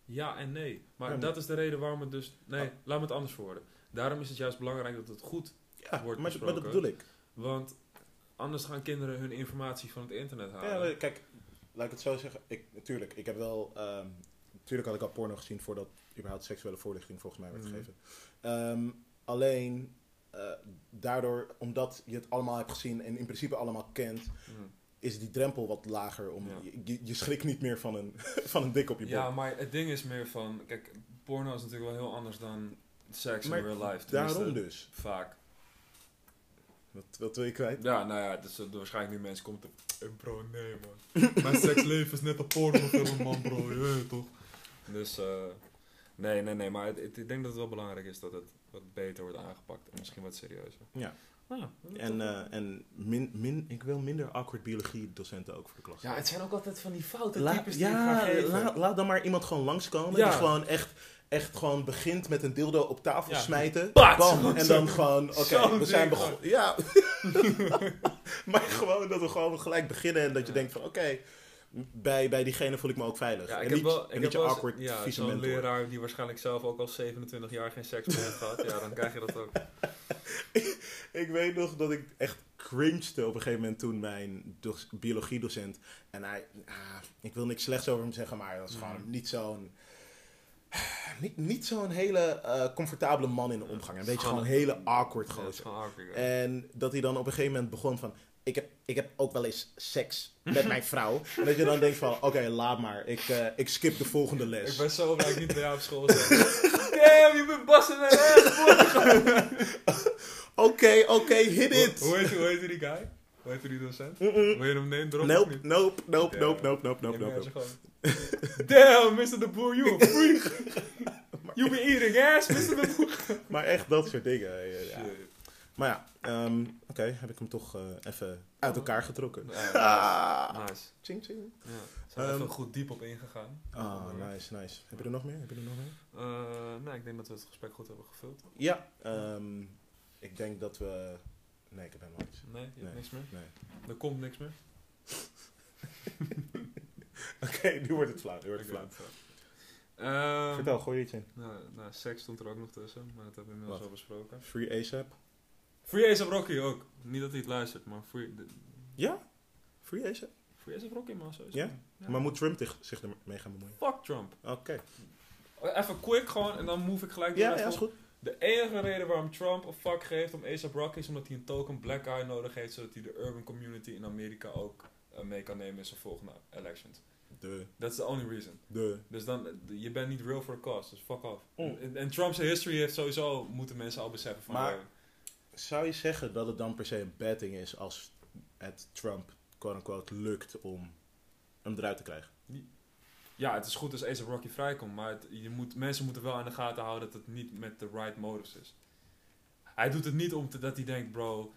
Ja en nee. Maar
Ja, maar-
dat is de reden waarom het dus... Nee,
Oh.
laat me het anders verwoorden. Daarom is het juist belangrijk dat het goed...
Ja,
Wordt
maar, maar dat
besproken.
bedoel ik.
Want anders gaan kinderen hun informatie van het internet
Ja,
halen.
maar kijk, laat ik het zo zeggen. Ik, natuurlijk, ik heb wel... ehm, natuurlijk had ik al porno gezien voordat überhaupt seksuele voorlichting volgens mij werd
Mhm.
gegeven. Ehm, alleen eh, daardoor, omdat je het allemaal hebt gezien en in principe allemaal kent,
Hm.
is die drempel wat lager. Om,
Ja.
je- je, je schrikt niet meer van een, (laughs) van een dik op je bol.
Ja, maar het ding is meer van... Kijk, porno is natuurlijk wel heel anders dan seks
Maar
in real life. Tenminste,
daarom dus.
Vaak.
Wat, wat wil je kwijt?
Ja, nou ja, dus eh, waarschijnlijk nu mensen komt op. eh, bro, nee man. (laughs) Mijn seksleven is net een pornofilm man, bro. Je weet het toch? Dus, eh, nee, nee, nee. Maar het- het- ik denk dat het wel belangrijk is dat het wat beter wordt aangepakt. En misschien wat serieuzer.
Ja.
Nou,
En, eh, en min, min, ik wil minder awkward biologie docenten ook voor de klas.
Ja, het zijn ook altijd van die foute
La-
types die het gaan
ja,
geven.
la- laat dan maar iemand gewoon langskomen.
Ja.
Die gewoon echt, echt gewoon begint met een dildo op tafel
Ja.
smijten.
Pat!
Bam! En dan gewoon, oké,
Zo'n
we
ding
zijn begonnen. Ja. (laughs) maar gewoon dat we gewoon gelijk beginnen en dat je
Ja.
denkt van, oké, bij, bij diegene voel ik me ook veilig.
Ja,
en
ik
niet,
heb wel,
en
ik
niet
heb
je
wel eens-
awkward,
ja,
vieze
zo'n
mentor.
leraar die waarschijnlijk zelf ook al 27 jaar geen seks meer heeft gehad. Ja, dan krijg je dat ook.
Ik weet nog dat ik echt cringede op een gegeven moment toen mijn doc- biologiedocent. En hij, ah, ik wil niks slechts over hem zeggen, maar dat is gewoon
Mhm.
niet zo'n. (sighs) Niet, niet zo'n hele eh, comfortabele man in de omgang. Een beetje gewoon een hele awkward
Ja, het is
gozer.
gewoon awkward, ja.
En dat hij dan op een gegeven moment begon van... Ik heb, ik heb ook wel eens seks met mijn
(laughs)
vrouw. En dat je dan denkt van... Oké, laat maar. Ik, eh, ik skip de volgende
Ik
les.
ben zo blij dat ik niet bij jou op (laughs) school zit.
Damn, je bent Bas en Ed.
Oké, oké, hit it!
Hoe, hoe, heet, hoe heet die guy? Hoe heet die docent?
Mm-mm.
Wil je hem nemen? Drop
Nope, nope, nope,
Ja.
nope, nope, nope, nope, nope.
Damn, Mr. De Boer, (laughs) you a freak. you been eating ass, Mr. De Boer.
Maar echt dat soort dingen. ja, ja.
Shit.
Maar ja, ehm, oké, heb ik hem toch eh, even uit elkaar getrokken.
Ja,
(laughs) Ah,
Nice.
ching, ching.
Ja, zijn we
Ehm,
even goed diep op ingegaan.
Ah, nice, nice. Heb je er nog meer? Heb je er nog meer?
Eh, nou, ik denk dat we het gesprek goed hebben gevuld.
Ja, ehm, ik denk dat we... Nee, ik heb helemaal (laughs) niks.
Nee, je hebt
Nee.
niks meer?
Nee.
Er komt niks meer?
Oké, nu wordt het flauw, nu wordt het
Oké,
flauw.
dat wel. Ehm,
Vertel, gooi er iets in.
Nou, nou, seks stond er ook nog tussen, maar dat hebben we inmiddels al besproken.
Free ASAP.
Free Ace of Rocky ook. Niet dat hij het luistert, maar Free, de,
Free ASAP.
free Ace of Rocky man, sowieso.
Ja? Maar moet Trump zich- zich ermee gaan bemoeien?
Fuck Trump.
Oké.
Even quick gewoon, en dan move ik gelijk
Ja,
rest
ja,
op.
is goed.
De enige reden waarom Trump een fuck geeft om ASAP Rocky is omdat hij een token black eye nodig heeft, zodat hij de urban community in Amerika ook eh, mee kan nemen in zijn volgende elections.
De,
That's the only reason.
de.
Dus dan, eh, je bent niet real for the cause, dus fuck off.
Mm.
En, en Trump's history heeft sowieso, moeten mensen al beseffen van...
Maar-
eh,
Zou je zeggen dat het dan per se een bad thing is als het Trump, quote-unquote, lukt om hem eruit te krijgen?
ja, het is goed als ASAP Rocky vrijkomt, maar het- je moet, mensen moeten wel in de gaten houden dat het niet met de right motives is. Hij doet het niet omdat dat hij denkt, bro,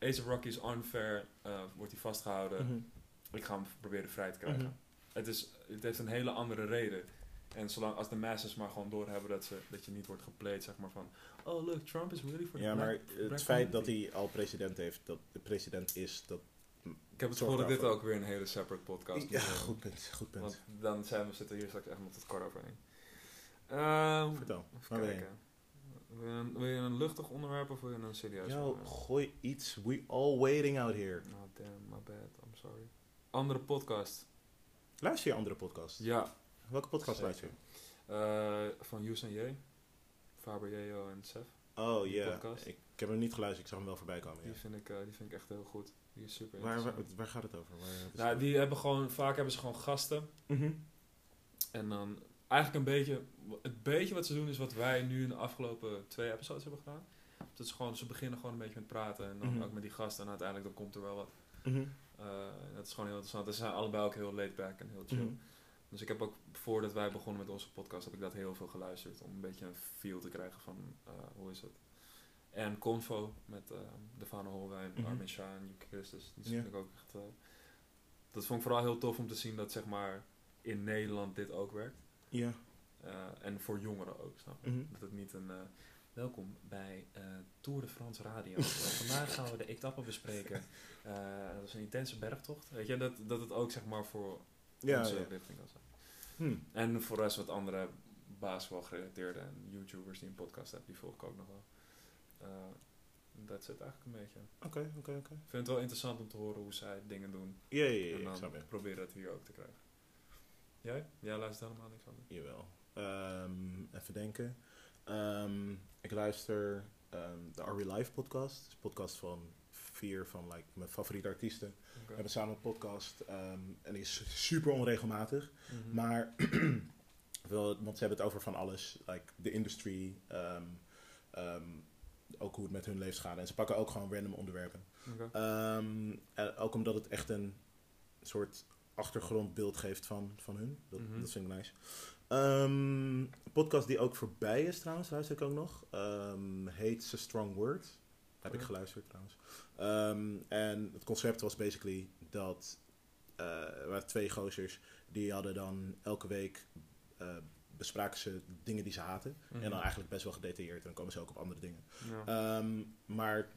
ASAP Rocky is unfair, eh, wordt hij vastgehouden, ik ga hem proberen vrij te krijgen.
Mhm.
het, is, het heeft een hele andere reden. En zolang als de masses maar gewoon doorhebben dat, ze, dat je niet wordt gepleed, zeg maar van... Oh, look, Trump is really for
Ja,
the
maar
black- black
het feit dat
community."
hij al president heeft, dat de president is, dat...
Ik heb het
zorgt
gevoel dat dit
daarvoor.
ook weer een hele separate podcast
Ja,
moet worden.
goed punt, goed punt.
Want dan zijn we, zitten we hier straks echt nog tot kwart over één. Ehm,
Vertel,
even
waar ben je
kijken. Wil je, een, wil je een luchtig onderwerp of wil je een serieus
Yo,
onderwerp?
gooi iets. We all waiting out here.
Oh, damn, my bad. I'm sorry. Andere podcast.
Luister je andere podcast?
Ja,
Welke podcast
Zeker.
luister je?
eh, van Yous en J. Faber, Jeo en Sef.
Oh,
Die
ja.
podcast?
Ik, ik heb hem niet geluisterd, ik zag hem wel voorbij komen. Ja.
Die, vind ik, eh, die vind ik echt heel goed. Die is super
Waar,
interessant.
waar, waar gaat het over? Waar, wat is
Nou,
het?
die hebben gewoon, vaak hebben ze gewoon gasten.
Mhm.
En dan eigenlijk een beetje, het beetje wat ze doen is wat wij nu in de afgelopen twee episodes hebben gedaan. Dat is gewoon, ze beginnen gewoon een beetje met praten en dan
Mhm.
ook met die gasten en uiteindelijk dan komt er wel wat.
Mhm.
Eh, dat is gewoon heel interessant. En Ze zijn allebei ook heel laid back en heel chill.
Mhm.
Dus ik heb ook, voordat wij begonnen met onze podcast, heb ik dat heel veel geluisterd. Om een beetje een feel te krijgen van, eh, hoe is het? En Convo met eh Devane Holwijn,
Mhm.
Armin Shah en Joep Christus. Dat,
Ja.
vind ik ook echt, eh, dat vond ik vooral heel tof om te zien dat, zeg maar, in Nederland dit ook werkt.
Ja.
Eh, en voor jongeren ook, snap je?
Mhm.
Dat het niet een... eh, Welkom bij eh Tour de France Radio.
(laughs)
Eh, vandaag gaan we de etappe bespreken. Eh, dat is een intense bergtocht. Weet je, dat, dat het ook zeg maar voor
Ja,
onze
ja.
richting kan zijn.
Hm.
En voor de rest wat andere basketbal gerelateerde en YouTubers die een podcast hebben, die volg ik ook nog wel. Eh, Dat zit eigenlijk een beetje.
Oké, oké, oké.
Ik vind het wel interessant om te horen hoe zij dingen doen.
Ja, ja, ja,
en
ja, ik
dan
snap je.
proberen het hier ook te krijgen. Jij? Jij luistert helemaal niks aan.
Jawel. Ehm, even denken. Ehm, ik luister ehm, de Are We Live podcast. Dat is een podcast van vier van like, mijn favoriete artiesten. We hebben samen een podcast ehm, en die is super onregelmatig.
Mhm.
Maar, (clears throat) wel, want ze hebben het over van alles. Like de industry, ehm, ehm, ook hoe het met hun leefschade. En ze pakken ook gewoon random onderwerpen.
Oké.
Ehm, en ook omdat het echt een soort achtergrondbeeld geeft van, van hun. Dat,
Mhm.
dat vind ik nice. Ehm, een podcast die ook voorbij is trouwens, luister ik ook nog. Ehm heet A Strong Word. Heb ik geluisterd trouwens. Ehm, en het concept was basically dat eh, er waren twee gozers die hadden dan elke week eh, bespraken ze dingen die ze haten. En
Mhm.
dan eigenlijk best wel gedetailleerd. En dan komen ze ook op andere dingen.
Ja.
Ehm, maar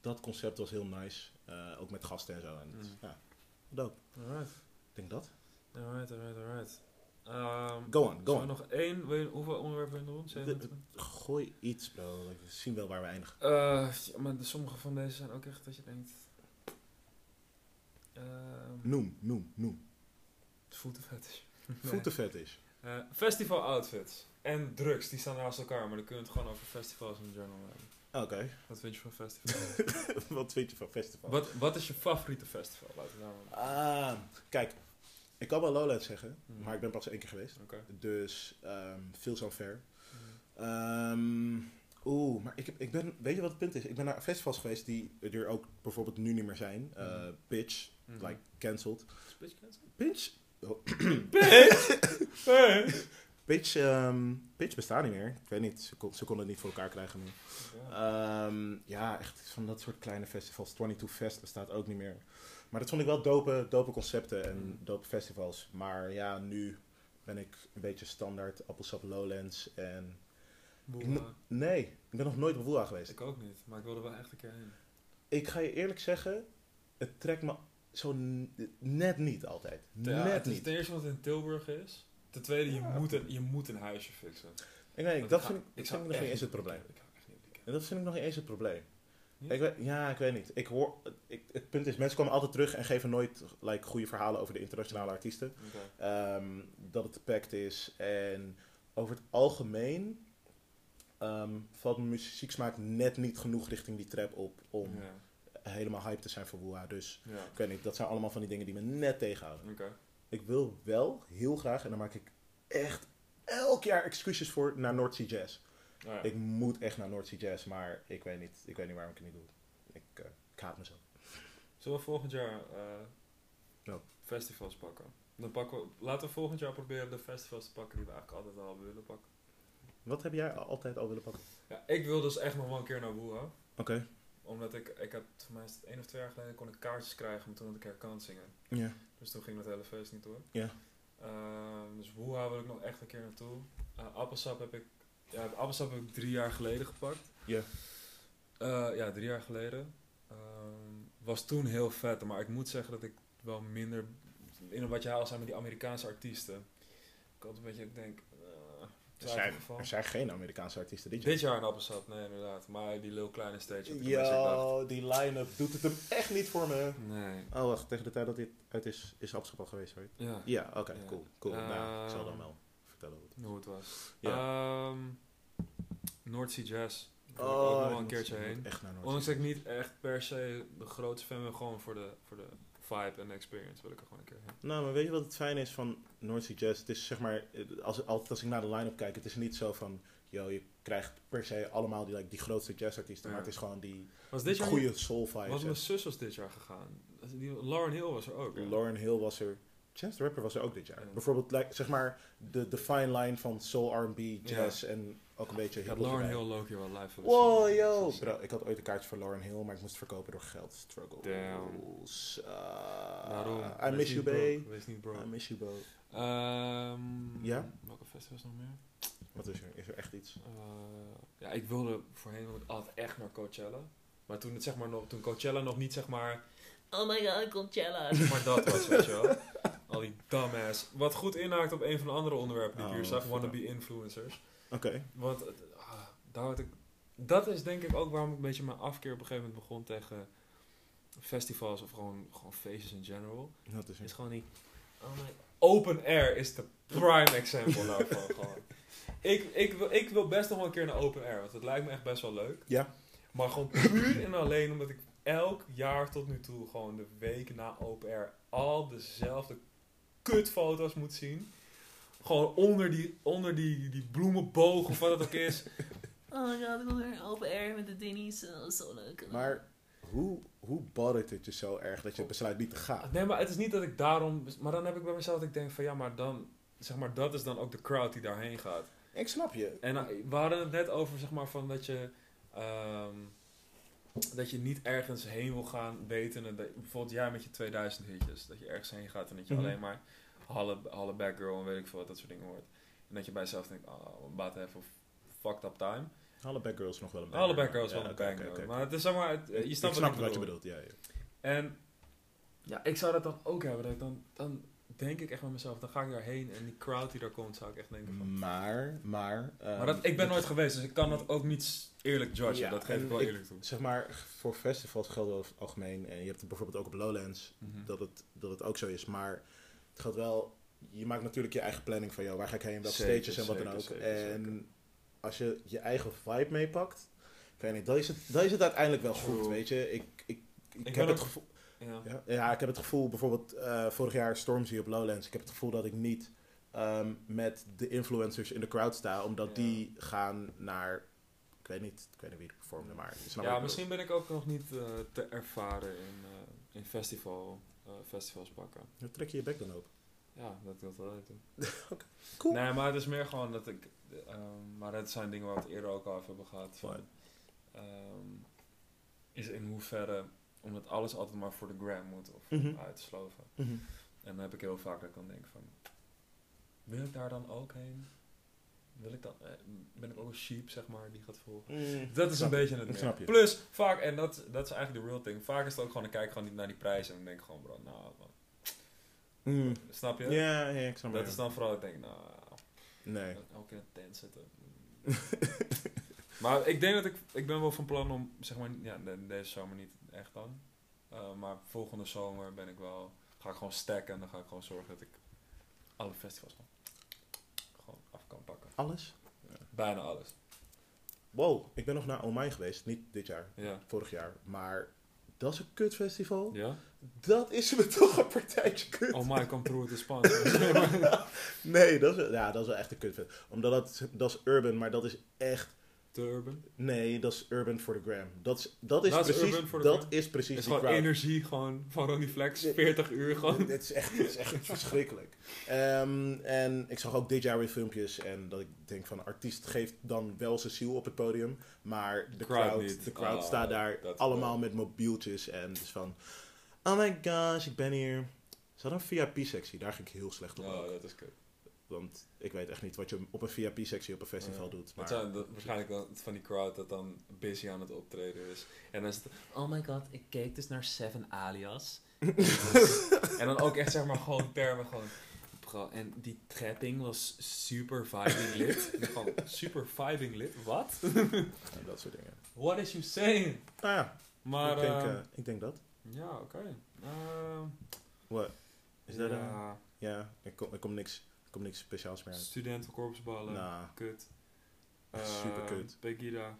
dat concept was heel nice. Eh, ook met gasten en zo. En dat is-
Mm.
ja, dope.
Alright,
Ik denk dat.
alright, alright, alright. Ehm,
Go on, go
zullen we
on.
nog één, wil je- hoeveel onderwerpen wil je nog doen?
De-
27?
Gooi iets, bro. We zien wel waar we eindigen.
Eh, ja, maar de- sommige van deze zijn ook echt dat je denkt. ehm,
Noem, noem,
(laughs)
noem. (laughs)
Voetenfetish.
Voetenvet is.
Eh, festival outfits en drugs, die staan naast elkaar, maar dan kunnen we het gewoon over festivals in general hebben.
Oké.
Wat vind je van festivals?
(laughs) Wat vind je van festival?
(laughs) wat, wat is je favoriete festival? Laten we daar maar-
Ah, kijk. Ik kan wel Lowlands zeggen,
Mhm.
maar ik ben pas één keer geweest.
Oké.
Dus ehm, veel zo ver. Mm. Ehm, Oeh, maar ik, heb, ik ben, weet je wat het punt is? Ik ben naar festivals geweest die er ook bijvoorbeeld nu niet meer zijn. Eh,
Mhm.
Pitch,
Mhm.
like, cancelled.
Is Pitch Oh. cancelled?
Pitch?
Hey!
(laughs) Pitch, ehm, Pitch bestaat niet meer. Ik weet niet, ze, kon- ze konden het niet voor elkaar krijgen nu.
Ja.
Ehm, ja, echt van dat soort kleine festivals. 22 Fest bestaat ook niet meer. Maar dat vond ik wel dope, dope concepten en
Mm.
dope festivals. Maar ja, nu ben ik een beetje standaard appelsap Lowlands en...
Boe,
Ik moet-
eh,
Nee, ik ben nog nooit op Woeha geweest.
ik ook niet, maar ik wilde wel echt een keer heen.
Ik ga je eerlijk zeggen, het trekt me zo n- net niet altijd.
Ja,
net
het is
niet.
Ten eerste wat in Tilburg is. Ten tweede, je,
Ja.
moet, een, je moet een huisje fixen.
Ik, nee,
Want
dat
ga-
vind ik, dat vind ik
zou
nog niet
echt
eens het
op die
probleem.
camp. Ik ga echt niet op die camp.
En dat vind ik nog niet eens het probleem.
Niet?
Ik weet, ja, ik weet niet. Ik hoor, ik, het punt is, mensen komen altijd terug en geven nooit like, goede verhalen over de internationale artiesten.
Oké.
Ehm, dat het packed is. En over het algemeen ehm, valt mijn muzieksmaak net niet genoeg richting die trap op om
Ja.
helemaal hype te zijn voor Woeha. Dus
Ja.
ik weet niet, dat zijn allemaal van die dingen die me net tegenhouden.
Oké.
Ik wil wel heel graag, en daar maak ik echt elk jaar excuses voor, naar North Sea Jazz.
Nou ja.
Ik moet echt naar North Sea Jazz, maar ik weet niet, ik weet niet waarom ik het niet doe. Ik, eh, ik haat mezelf.
Zullen we volgend jaar eh,
Ja.
festivals pakken? Dan pakken we, laten we volgend jaar proberen de festivals te pakken die we eigenlijk altijd al willen pakken.
Wat heb jij al- altijd al willen pakken?
Ja, ik wil dus echt nog wel een keer naar Wuha.
Oké.
Omdat ik, ik had, voor mij is het één of twee jaar geleden, kon ik kaartjes krijgen, maar toen had ik herkant zingen.
Ja.
Dus toen ging dat hele feest niet door.
Ja.
Ehm, dus Wuha wil ik nog echt een keer naartoe. Eh, appelsap heb ik, ja, appelsap heb ik drie jaar geleden gepakt.
Ja.
Eh, ja, drie jaar geleden. Ehm, was toen heel vet, maar ik moet zeggen dat ik wel minder in wat je haalt zijn met die Amerikaanse artiesten. Ik had een beetje, ik denk, eh,
Er zijn,
twijfelgeval.
er zijn geen Amerikaanse artiesten dit jaar.
Dit jaar een appelsap, nee inderdaad. Maar die Lil Kleine stage heb ik een beetje gedacht.
Yo, die line-up doet het hem echt niet voor me.
Nee.
Oh, wacht, tegen de tijd dat dit uit is, is Abschap al geweest, sorry.
Ja.
Ja, oké,
Ja.
cool. cool. nou, ik zal dan
Ehm.
wel vertellen hoe het
hoe het was.
Ja.
Ehm North Sea Jazz. Daar wil ik ook nog wel een keertje heen.
Oh, Echt naar North
Ondanks
Sea.
dat ik niet echt per se de grootste fan ben, gewoon voor de, voor de vibe en de experience wil ik er gewoon een keer heen.
Nou, maar weet je wat het fijn is van North Sea Jazz? Het is zeg maar, eh, als, altijd als ik naar de line-up kijk, het is niet zo van, yo, je krijgt per se allemaal die, like, die grootste jazzartiesten,
Ja.
maar het is gewoon die
Was dit jaar,
goede soul vibes.
was mijn
En
zus was dit jaar gegaan. Die, Lauren Hill was er ook. hè?
Lauren Hill was er, jazz rapper was er ook dit jaar.
Ja.
Bijvoorbeeld, like, zeg maar, de, de fine line van soul, R&B, jazz en ook een beetje
Ik had
hip-hop
Lauren
erbij.
Hill Loki wel live willen
Wow,
zien.
yo!
Dat is-
Bro, ik had ooit een kaartje voor Lauren Hill, maar ik moest verkopen door geld. Struggle.
Damn. Daarom.
Uh, I
Wees
miss
niet
you,
broke,
babe.
Wees niet
I
bro.
miss you, babe. Ja?
ja? Ehm, Welke festivals nog meer?
Wat is er? Is er echt iets?
Eh, ja, ik wilde voorheen wilde ik altijd echt naar Coachella. Maar toen, het, zeg maar nog, toen Coachella nog niet, zeg maar...
Oh my god, Coachella.
zeg maar dat was, weet je wel. Al die dumbass. Wat goed inhaakt op een van de andere onderwerpen die ik hier
Oh,
zag.
vertel.
Wannabe influencers.
Oké.
Want eh, ah, daar had ik... Dat is denk ik ook waarom ik een beetje mijn afkeer op een gegeven moment begon tegen festivals of gewoon, gewoon feestjes in general.
Wat is
Is
er?
gewoon die... Oh my, open air is de prime example daarvan (laughs) gewoon. Ik, ik, wil, ik wil best nog wel een keer naar open air, want het lijkt me echt best wel leuk.
Ja.
Maar gewoon puur en alleen omdat ik elk jaar tot nu toe gewoon de week na open air al dezelfde kutfoto's moet zien. Gewoon onder die, onder die, die bloemenboog of wat het ook is.
Oh my god, ik wil weer open air met de Denny's. Oh, zo leuk.
Maar hoe, hoe bothert het je zo erg dat je besluit niet te gaan?
Nee, maar het is niet dat ik daarom... Maar dan heb ik bij mezelf dat ik denk van ja, maar dan... Zeg maar, dat is dan ook de crowd die daarheen gaat.
Ik snap je.
En eh, we hadden het net over, zeg maar, van dat je... ehm, dat je niet ergens heen wil gaan weten. Dat, bijvoorbeeld jij met je 2000 hitjes. Dat je ergens heen gaat en dat je
Mhm.
alleen maar Halle, Halle Back Girl en weet ik veel wat, dat soort dingen hoort. En dat je bij jezelf denkt, oh, baat even fucked up time.
Halle Back Girls nog wel een
Halle
banger,
Back Girl is
maar-
wel een
ja, oké,
banger.
oké, oké.
Maar het is zeg maar, het- eh, je snapt
ik snap
ik
wat je
bedoel.
bedoelt, ja. ja.
En ja, ik zou dat dan ook hebben. Dat ik dan, dan denk ik echt bij mezelf, dan ga ik daarheen en die crowd die daar komt, zou ik echt denken van...
Maar, maar... ehm,
Maar dat, ik ben
dat-
nooit geweest, dus ik kan dat ook niet eerlijk judgen.
Ja,
dat geef
en
ik wel
ik-
eerlijk toe.
Zeg maar, voor festivals geldt wel over het algemeen. En je hebt het bijvoorbeeld ook op Lowlands.
Mhm.
dat het, dat het ook zo is. Maar het gaat wel. Je maakt natuurlijk je eigen planning van jou. Waar ga ik heen? Welke
Zeker,
stages en wat dan
zeker,
ook.
zeker,
en als je je eigen vibe meepakt, ik weet niet, dan is het, dan is het uiteindelijk wel goed.
True.
Weet je, ik, ik, ik,
ben
heb het
ook-
gevoel.
Ja.
Ja, ja, ik heb het gevoel, bijvoorbeeld eh, vorig jaar Stormzy op Lowlands. Ik heb het gevoel dat ik niet ehm, met de influencers in de crowd sta, omdat
Ja.
die gaan naar. Ik weet niet, ik weet niet wie het performde, maar. je snapt wat ik
Ja,
bedoel.
misschien ben ik ook nog niet eh, te ervaren in, eh, in festival, eh, festivals pakken.
Dan trek je je bek dan open.
Ja, dat wil ik wel
(laughs)
doen.
Cool.
Nee, maar het is meer gewoon dat ik... ehm, maar dat zijn dingen waar we het eerder ook al over hebben gehad. Van,
Fine.
ehm, is in hoeverre, omdat alles altijd maar voor de gram moet of
Mhm.
uitsloven.
Mhm.
En dan heb ik heel vaak dat ik dan denk van... Wil ik daar dan ook heen? Wil ik dan, eh, ben ik ook een sheep, zeg maar, die gaat volgen? Mm, Dat is een
Snap
beetje het
Ik
meer.
snap je.
Plus, vaak, en dat, dat is eigenlijk de real thing. Vaak is het ook gewoon, ik kijk gewoon niet naar die prijs en dan denk ik gewoon, bro, nou, man. Mhm.
Mm.
Snap je?
Ja, ja, ik snap
Dat
het.
is dan vooral, ik denk, nou,
Nee.
ook in een tent zitten. (laughs) maar ik denk dat ik, ik ben wel van plan om, zeg maar, ja, de- deze zomer niet echt dan. Eh, maar volgende zomer ben ik wel, ga ik gewoon stacken en dan ga ik gewoon zorgen dat ik alle festivals gewoon, gewoon af kan pakken.
Alles?
Bijna alles.
Wow, ik ben nog naar Omai geweest. Niet dit jaar,
Ja.
vorig jaar. Maar dat is een kutfestival.
Ja?
Dat is me (laughs) toch een partijtje kut.
Oh my, come through with the (laughs) sponsor.
(laughs) Nee, dat is, ja, dat is wel echt een kutfestival. Omdat dat, dat is urban, maar dat is echt...
Durban.
Nee, dat is urban for the gram. Dat is, dat is
Dat is
precies,
urban for the
dat
gram.
is precies
Het is
die
gewoon
crowd.
energie gewoon van Ronnie Flex,
Nee.
40 uur gewoon.
Het is echt, het is
(laughs)
echt verschrikkelijk. Ehm, en ik zag ook dit jaar weer filmpjes. En dat ik denk van, artiest geeft dan wel zijn ziel op het podium. Maar de
Crowd
crowd,
niet.
de crowd
Ah,
staat daar
dat is
allemaal met mobieltjes. En dus van, oh my gosh, ik ben hier. Ze hadden een VIP-sectie. Daar ging ik heel slecht op.
Oh,
ook.
dat is kut.
Want ik weet echt niet wat je op een VIP-sectie op een festival
Oh, Ja.
doet.
Het
Maar
zijn dat- waarschijnlijk wel van die crowd dat dan busy aan het optreden is. En dan is het,
Oh my god, ik keek dus naar Seven Alias.
(laughs)
en dan ook echt zeg maar gewoon termen gewoon. bro, en die trapping was super vibing
(laughs)
lit. En gewoon super vibing lit. Wat?
ja, dat soort dingen.
What is you saying?
Nou ja,
Maar
ik, denk,
eh,
eh, ik denk dat.
ja, oké. Ehm,
What? Is dat een-
ja,
Ja, er komt er komt niks, er komt niks speciaals meer uit.
studentenkorpsballen.
Nou,
Kut.
Echt superkut.
Eh, Pegida.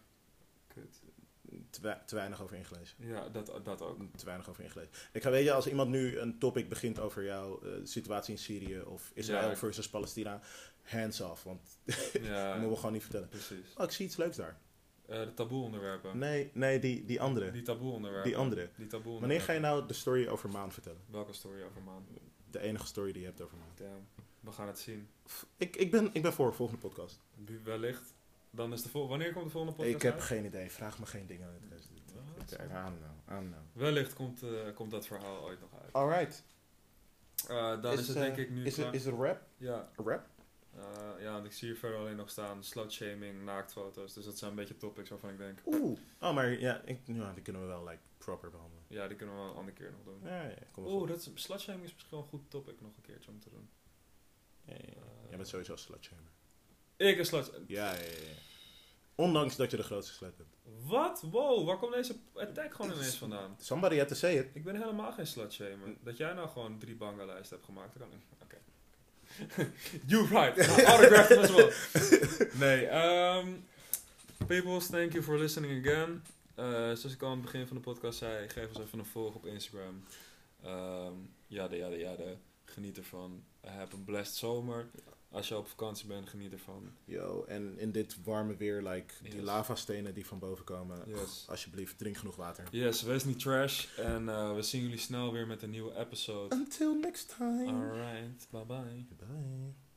Kut.
te, we- te weinig over ingelezen.
Ja, dat,
(laughs)
dat ook.
te weinig over ingelezen. Ik ga weet je, als iemand nu een topic begint over jouw eh, situatie in Syrië of Israël
Ja.
versus Palestina, hands off, want (laughs) dat
Ja,
moeten we gewoon niet vertellen.
precies.
Oh, ik zie iets leuks daar.
Eh, de taboe onderwerpen.
Nee, nee, die, die andere.
Die taboe onderwerpen.
Die andere.
Die taboe
Wanneer ga je nou
onderwerpen.
de story over Maan vertellen?
Welke story over maan?
De enige story die je hebt over Maan.
Damn. We gaan het zien.
Ik, ik, ben, ik ben voor, volgende podcast.
Wie- Wellicht. Dan is de volgende. Wanneer komt de volgende podcast?
Ik heb
uit?
geen idee, vraag me geen dingen. uit de rest. Ik- I don't know, I don't know.
Wellicht komt, eh, komt dat verhaal ooit nog uit.
Alright,
Eh, dan is, het
eh,
denk ik nu
Oh, is,
klaar.
het, is het rap?
ja.
Rap?
Eh, ja, want ik zie hier verder alleen nog staan slutshaming, naaktfoto's. Dus dat zijn een beetje topics waarvan ik denk,
Oeh. Oh, maar ja, ik, ja, die kunnen we wel like, proper behandelen.
ja, die kunnen we wel een andere keer nog doen.
Ja, ja, kom maar
Oeh, dat is, slutshaming is misschien wel een goed topic nog een keertje om te doen.
Jij bent sowieso een slutshamer.
Ik een slut...
Ja, ja, ja. ja. Ondanks dat je de grootste slut bent.
Wat? Wow, waar komt deze attack gewoon ineens vandaan?
Somebody had to say it.
Ik ben helemaal geen slutshamer. Dat jij nou gewoon drie bangenlijsten hebt gemaakt, dat kan ik. Oké. (laughs) you right. Nou, Autograph them as well. Nee, ehm peoples, thank you for listening again. Eh, zoals ik al aan het begin van de podcast zei, geef ons even een volg op Instagram. Ehm jada, jada, jada. Geniet ervan. Heb een blessed zomer. Als je op vakantie bent, geniet ervan.
Yo, en in dit warme weer, like, die
Yes.
lavastenen die van boven komen.
Yes.
Alsjeblieft, drink genoeg water.
Yes, wees niet trash. En eh, we zien jullie snel weer met een nieuwe episode.
Until next time.
Alright, bye bye.
Bye.